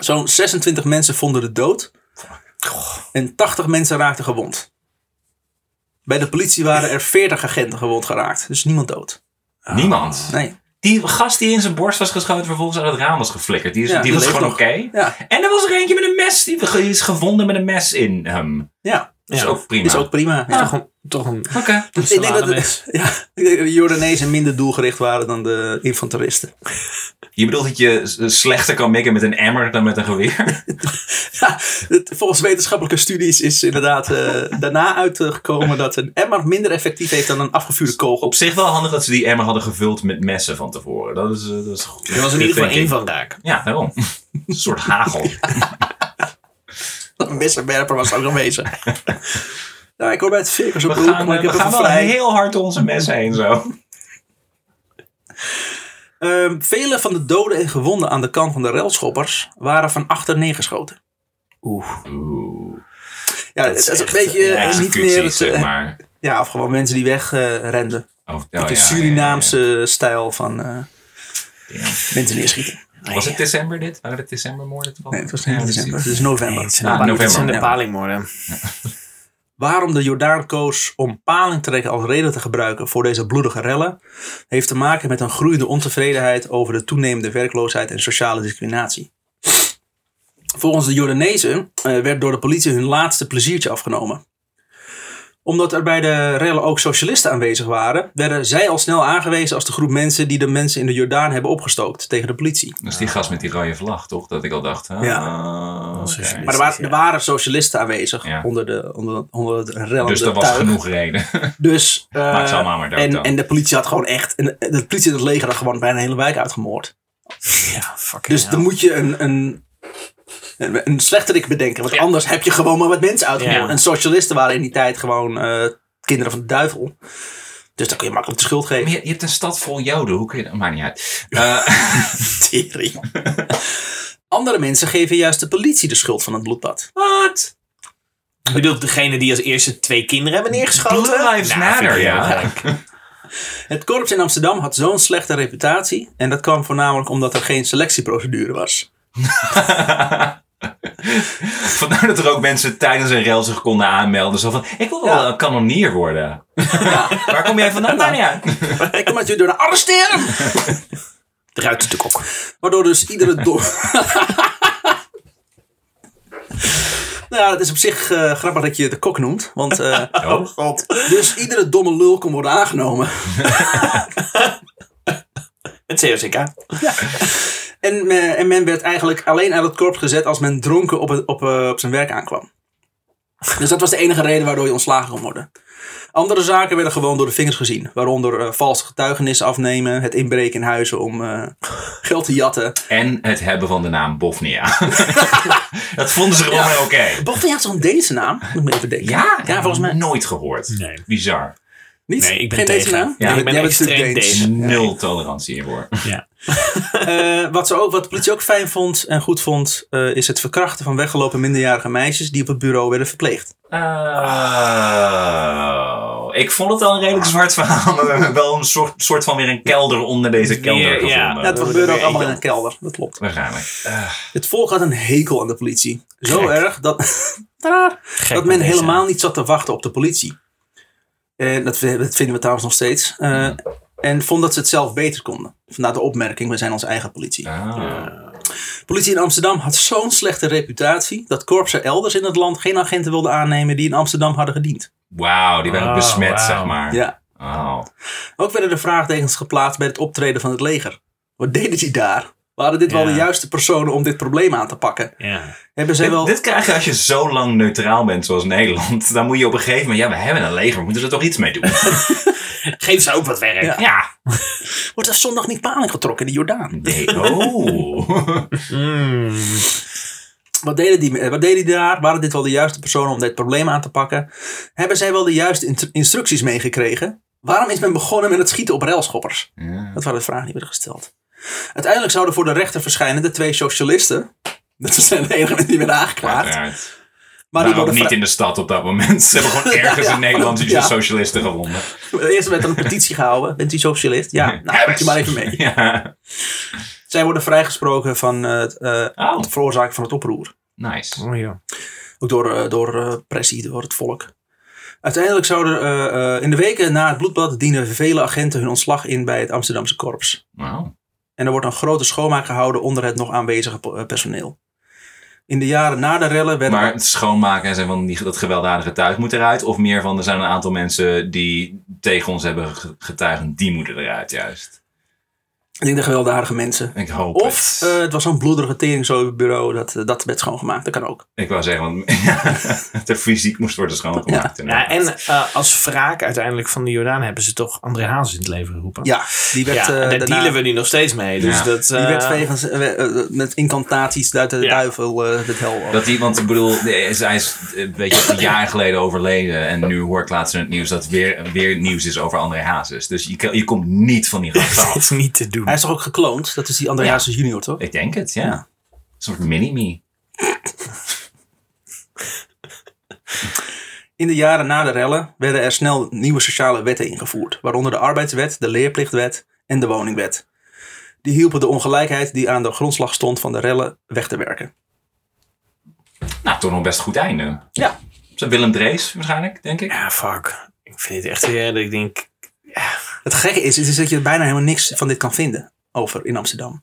Zo'n 26 mensen vonden de dood en 80 mensen raakten gewond. Bij de politie waren er 40 agenten gewond geraakt, dus niemand dood.
Niemand.
Nee,
Die gast die in zijn borst was geschoten, vervolgens uit het raam was geflikkerd. Die, is,
Ja,
die
die
was
leeft
gewoon
nog.
oké.
ja,
En er was er eentje met een mes. Die ge- is gevonden met een mes in hem.
ja,
Dat is
Ja.
ook prima.
is ook prima. Ja.
Toch een... Toch een
Oké.
Ik denk dat
salademes.
de, ja, ik denk dat de Jordanezen minder doelgericht waren dan de infanteristen.
Je bedoelt dat je s- slechter kan mikken met een emmer dan met een geweer?
Ja, het- volgens wetenschappelijke studies is inderdaad eh, daarna uitgekomen dat een emmer minder effectief heeft dan een afgevuurde kogel.
Op zich wel handig dat ze die emmer hadden gevuld met messen van tevoren. Dat is, eh, dat is goed.
Er was in ieder geval één van raak.
Ja, daarom. Een soort hagel.
Een messenwerper was ook aanwezig. Ja, ik hoor bij het circus op
We
de hoek,
gaan,
maar
eh,
ik
we
heb
gaan
hem
wel
vrij.
heel hard door onze messen heen zo.
Ehm, vele van de doden en gewonden aan de kant van de relschoppers waren van achter neergeschoten.
Oeh.
Ja, het is, een beetje eh,
Ja,
niet
executie,
meer... Het,
zeg
eh,
maar.
ja, of gewoon mensen die wegrenden.
Oh, oh,
Uh,
ja,
de
ja,
Surinaamse stijl van eh,
ja, ja.
mensen neerschieten.
Was het december dit? Waren het decembermoorden?
Nee, het was niet
Ja,
december. Het
precies.
is november.
Nee, het zijn,
Ah,
de,
november.
het zijn de
Ja.
palingmoorden.
Waarom de Jordaan koos om paling te trekken als reden te gebruiken voor deze bloedige rellen, heeft te maken met een groeiende ontevredenheid over de toenemende werkloosheid en sociale discriminatie. Volgens de Jordanezen eh, werd door de politie hun laatste pleziertje afgenomen. Omdat er bij de rellen ook socialisten aanwezig waren, werden zij al snel aangewezen als de groep mensen die de mensen in de Jordaan hebben opgestookt tegen de politie.
Dat is die gast met die rode vlag, toch? Dat ik al dacht. ah,
Ja.
oké.
socialist.
Maar er waren, er waren socialisten aanwezig
Ja.
onder de, onder, onder de rellende
Dus dat was
tuig.
genoeg reden.
Dus, eh,
Maak ze allemaal maar dood
en,
dan.
en de politie had gewoon echt, en de, de politie en het leger had gewoon bijna een hele wijk uitgemoord.
Ja, fucking
Dus dan moet je een, een, een, een slechterik bedenken, want
Ja.
anders heb je gewoon maar wat mensen uitgemoord.
Ja.
En socialisten waren in die tijd gewoon eh, kinderen van de duivel. Dus dan kun je makkelijk de schuld
Maar
geven.
je, je hebt een stad vol joden, hoe kun je dat? Maakt niet uit. Eh,
Tering. Andere mensen geven juist de politie de schuld van het bloedbad.
Wat?
Ik bedoel, degene die als eerste twee kinderen hebben neergeschoten.
Blue lives
Nou,
matter,
vind ik
ja.
wel gelijk.
Het korps in Amsterdam had zo'n slechte reputatie. En dat kwam voornamelijk omdat er geen selectieprocedure was.
Vandaar dat er ook mensen tijdens een rel zich konden aanmelden. Zo van, ik wil wel
Ja.
een kanonier worden. Waar kom jij vandaan? Nou, ja.
Ik kom nou, natuurlijk door de arresteren!
Eruit de kok.
Waardoor dus iedere dorp. Nou ja, het is op zich eh, grappig dat je de kok noemt. Want eh,
Oh.
God.
dus iedere domme lul kon worden aangenomen.
Het COCK.
En, eh, en men werd eigenlijk alleen uit het korps gezet als men dronken op, het, op, eh, op zijn werk aankwam. Dus dat was de enige reden waardoor je ontslagen kon worden. Andere zaken werden gewoon door de vingers gezien. Waaronder eh, valse getuigenissen afnemen, het inbreken in huizen om eh, geld te jatten.
En het hebben van de naam Bofnia. dat vonden ze gewoon oké.
Bovendien had zo'n Deense naam. Moet ik me even denken.
Ja,
Ja, volgens mij.
Nooit gehoord.
Nee.
Bizar.
Niet?
Nee, ik ben
Geen Deense
tegen.
naam?
Ja,
Jij
ik
bent-
ben
jij bent
extreem
natuurlijk Deens.
Deens.
Nul tolerantie hiervoor.
Ja.
Eh, wat, ze ook, wat de politie ook fijn vond en goed vond, eh, is het verkrachten van weggelopen minderjarige meisjes die op het bureau werden verpleegd.
Oh, ik vond het al een redelijk zwart verhaal. Maar we hebben wel een soort, soort van weer een kelder onder deze kelder
Meer, ja.
gevonden.
Ja, het
dat
gebeurde ook
weet
allemaal
ik
in een kelder, dat klopt.
Waarschijnlijk. Oh.
Het volk had een hekel aan de politie. Zo
Gek.
erg dat, Tadaa.
Gek
dat
met
men
deze.
helemaal niet zat te wachten op de politie. En dat, v- dat vinden we trouwens nog steeds. Eh,
Hmm.
En vond dat ze het zelf beter konden. Vandaar de opmerking, we zijn onze eigen politie.
Ah.
Politie in Amsterdam had zo'n slechte reputatie... dat korpsen elders in het land geen agenten wilden aannemen... die in Amsterdam hadden gediend.
Wauw, die werden
Oh,
besmet,
wauw.
zeg maar.
Ja.
Oh.
Ook werden er vraagtekens geplaatst bij het optreden van het leger. Wat deden die daar? Waren dit wel
Ja.
de juiste personen om dit probleem aan te pakken?
Ja.
Hebben zij
Dit,
wel...
dit krijg je als je zo lang neutraal bent zoals Nederland. Dan moet je op een gegeven moment... Ja, we hebben een leger. We moeten er toch iets mee doen?
Geef ze ook wat werk.
Ja.
ja.
Wordt er zondag niet paling getrokken in de Jordaan?
Nee. Oh.
Mm.
Wat deden, die, eh, wat deden die daar? Waren dit wel de juiste personen om dit probleem aan te pakken? Hebben zij wel de juiste instru- instructies meegekregen? Waarom is men begonnen met het schieten op railschoppers?
Ja.
Dat waren de vragen die werden gesteld. Uiteindelijk zouden voor de rechter verschijnen de twee socialisten. Dat zijn de enige mensen die werden aangeklaagd.
Uiteraard.
Maar die
Maar ook
worden
Nou, niet in de stad op dat moment. Ze hebben gewoon ergens
Ja.
in Nederland die
Ja.
socialisten gewonnen.
Eerst werd er een petitie gehouden. Bent u socialist? Ja, nou, moet je maar even mee.
Ja.
Zij worden vrijgesproken van het, eh,
Oh,
het veroorzaken van het oproer.
nice.
Oh, joh.
Ook door, eh, door eh, pressie, door het volk. Uiteindelijk zouden eh, eh, in de weken na het bloedbad dienen vele agenten hun ontslag in bij het Amsterdamse korps.
Wauw.
En er wordt een grote schoonmaak gehouden onder het nog aanwezige po- eh, personeel. In de jaren na de rellen werden...
Maar het schoonmaken en zijn van die, dat gewelddadige tuig moet eruit. Of meer van er zijn een aantal mensen die tegen ons hebben ge- getuigen, die moeten eruit juist.
Ik denk de gewelddadige mensen.
Ik hoop
Of
het.
eh, het was zo'n bloederige teringbureau dat, eh, dat werd schoongemaakt. Dat kan ook.
Ik wou zeggen, want de fysiek moest worden schoongemaakt.
Ja,
inderdaad.
en eh, als wraak uiteindelijk van de Jordaan hebben ze toch André Hazes in het leven geroepen.
Ja, die werd...
Ja,
eh,
en daar
daarna-
dealen we nu nog steeds mee. Dus
Ja.
dat,
Die
eh,
werd wegens, eh, eh, met incantaties uit de
Ja.
duivel eh, het hel.
Dat hij, want ik bedoel, hij is, hij is een beetje een jaar geleden overleden. En nu hoor ik laatst in het nieuws dat weer, weer nieuws is over André Hazes. Dus je, kan- je komt niet van die rand
dat
af.
is niet te doen.
Hij is toch ook gekloond? Dat is die André
Ja.
Hazes junior, toch?
Ik denk het, ja.
Ja.
Een soort mini-me.
In de jaren na de rellen werden er snel nieuwe sociale wetten ingevoerd. Waaronder de arbeidswet, de leerplichtwet en de woningwet. Die hielpen de ongelijkheid die aan de grondslag stond van de rellen weg te werken.
Nou, toch nog best goed einde.
Ja.
Zo Willem Drees waarschijnlijk, denk ik.
Ja, fuck. Ik vind dit echt weer dat ik denk...
Het gekke is, is dat je bijna helemaal niks van dit kan vinden over in Amsterdam.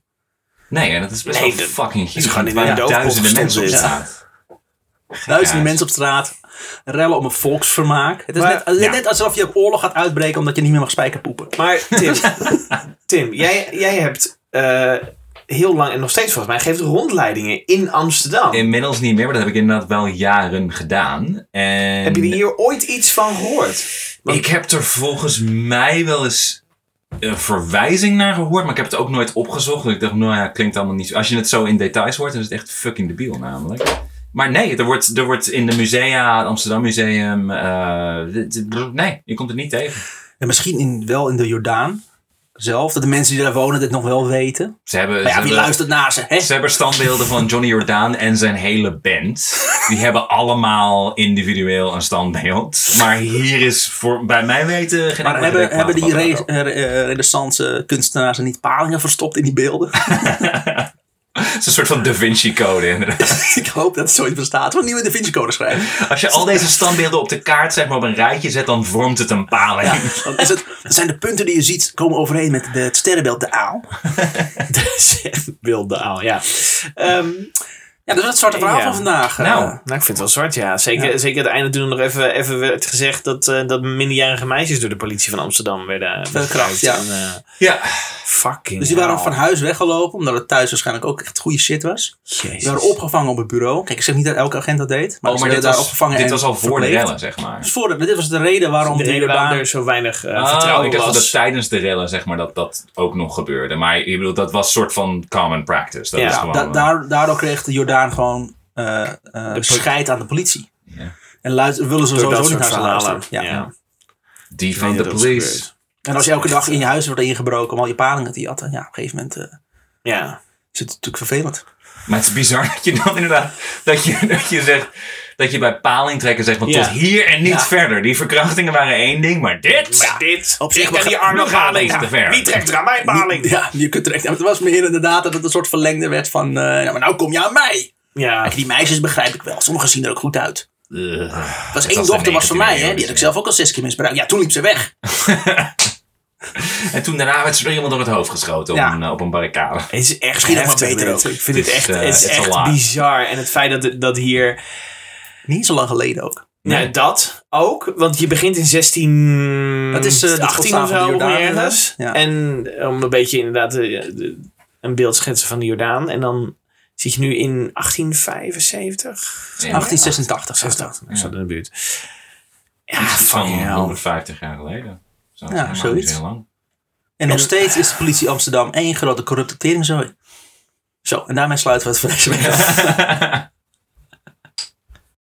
Nee, en dat is best
Nee,
wel
dat-
fucking huge.
gewoon in
waar
een doofpot
duizenden
gestopt
mensen op
is.
staan.
Duizenden
Ja.
mensen op straat. rellen om een volksvermaak. Het is,
Maar-
net, het is
ja.
net alsof je op oorlog gaat uitbreken omdat je niet meer mag spijkerpoepen.
Maar Tim, Tim jij, jij hebt eh, heel lang en nog steeds volgens mij geeft rondleidingen in Amsterdam.
Inmiddels niet meer, maar dat heb ik inderdaad wel jaren gedaan. En
Heb je er hier ooit iets van gehoord? Want-
Ik heb er volgens mij wel eens een verwijzing naar gehoord, maar ik heb het ook nooit opgezocht. Want ik dacht, nou ja, klinkt allemaal niet zo. Als je het zo in details hoort, dan is het echt fucking debiel namelijk. Maar nee, er wordt, er wordt in de musea, het Amsterdam Museum, eh, d- d- nee, je komt het niet tegen.
En misschien in, wel in de Jordaan zelf, dat de mensen die daar wonen dit nog wel weten.
Ze hebben,
Maar
ze
ja, wie
hebben-
luistert naar ze? Hè?
Ze hebben standbeelden van Johnny Jordaan en zijn hele band. Die hebben allemaal individueel een standbeeld. Maar hier is voor, bij mij weten geen
Maar
enkele
hebben,
reclame
hebben die
van
re-
Jordaan.
eh, eh, renaissance kunstenaars er niet palingen verstopt in die beelden?
Het is een soort van Da Vinci Code inderdaad.
ik hoop dat het zoiets bestaat. Gewoon nieuwe Da Vinci Code schrijven.
Als je al deze standbeelden op de kaart zeg maar, op een rijtje zet, dan vormt het een paling.
Dan is het, dan zijn de punten die je ziet komen overeen met de, het sterrenbeeld de aal.
Wilde aal, ja. Ehm,
Ja, dat is het zwarte verhaal
Ja.
van vandaag. eh.
Nou.
nou, ik vind het wel zwart, ja. Zeker, zeker het einde toen nog even, even werd gezegd dat, eh, dat minderjarige meisjes door de politie van Amsterdam werden
Verkracht,
verkracht.
ja.
Ja,
fucking
Dus die waren
hell.
van huis weggelopen, omdat het thuis waarschijnlijk ook echt goede shit was.
Jezus.
Die waren opgevangen op het bureau. Kijk, ik zeg niet dat elke agent dat deed. Maar,
oh,
ze
maar
werden
dit
daar
was,
opgevangen
dit
en
was al voor de
verpleegd.
rellen, zeg maar.
Dus voor de- dit was de reden waarom
de
die
reden
baan-
waarom er zo weinig eh,
Oh,
vertrouwen
ik dacht dat
was.
het tijdens de rellen zeg maar, dat dat ook nog gebeurde. Maar ik bedoel, dat was soort van common practice. Dat
Ja,
is gewoon, eh,
Da- daar, daardoor kreeg de Jordaan gewoon eh eh, scheid aan de politie.
Ja.
En luister, willen ze
Door
sowieso
dat
niet
soort
naar ze
verhalen.
luisteren. Ja.
die
Ik
van de
weet dat dat
police.
gebeurt.
En als je elke dag in je huis wordt ingebroken om al je palingen te jatten, ja, op een gegeven moment eh,
Ja.
is het natuurlijk vervelend.
Maar het is bizar dat je dan inderdaad, dat je, dat je zegt, dat je bij palingtrekken zegt van
Ja.
tot hier en niet
Ja.
verder. Die verkrachtingen waren één ding, maar dit,
Maar dit,
Dus Op zich
ik ben
mag-
die arme
nog gaat het
paling.
te ver.
Wie trekt er aan mijn paling?
Ja, je kunt er echt, het was meer inderdaad dat het een soort verlengde werd van, eh, ja, maar nou kom je aan mij.
Ja,
Kijk, die meisjes begrijp ik wel, sommigen zien er ook goed uit.
Ugh.
Dat was één
was de
dochter was van mij,
19e
hè? die had ik zelf ook al zes keer misbruikt. Ja, toen liep ze weg.
En toen daarna werd ze weer iemand door het hoofd geschoten op,
Ja.
een, eh, op een barricade.
het is echt
Misschien nog wel
heftig
beter
dit.
ook.
Ik vind het
Dit is,
echt,
eh,
het is
it's a
echt
lot.
bizar. En het feit dat, dat hier
Niet zo lang geleden ook.
Nee.
Nee.
dat ook, want je begint in 16,
Dat is, eh, de
18 of
godsnaam van
zo
de Jordaan,
ongeveer ergens.
ja.
En om een beetje inderdaad eh, de- een beeld schetsen van de Jordaan. En dan zit je nu in 1875,
Ja.
1886 zegt
86,
dat.
zo in de buurt. Ja,
Iets van
Ah, fucking hell.
150 jaar geleden. Zo,
Ja,
helemaal
zoiets.
niet zo lang.
En nog steeds is de politie Amsterdam één grote corrupte teringzooi. Zo, en daarmee sluiten we het voor deze week af.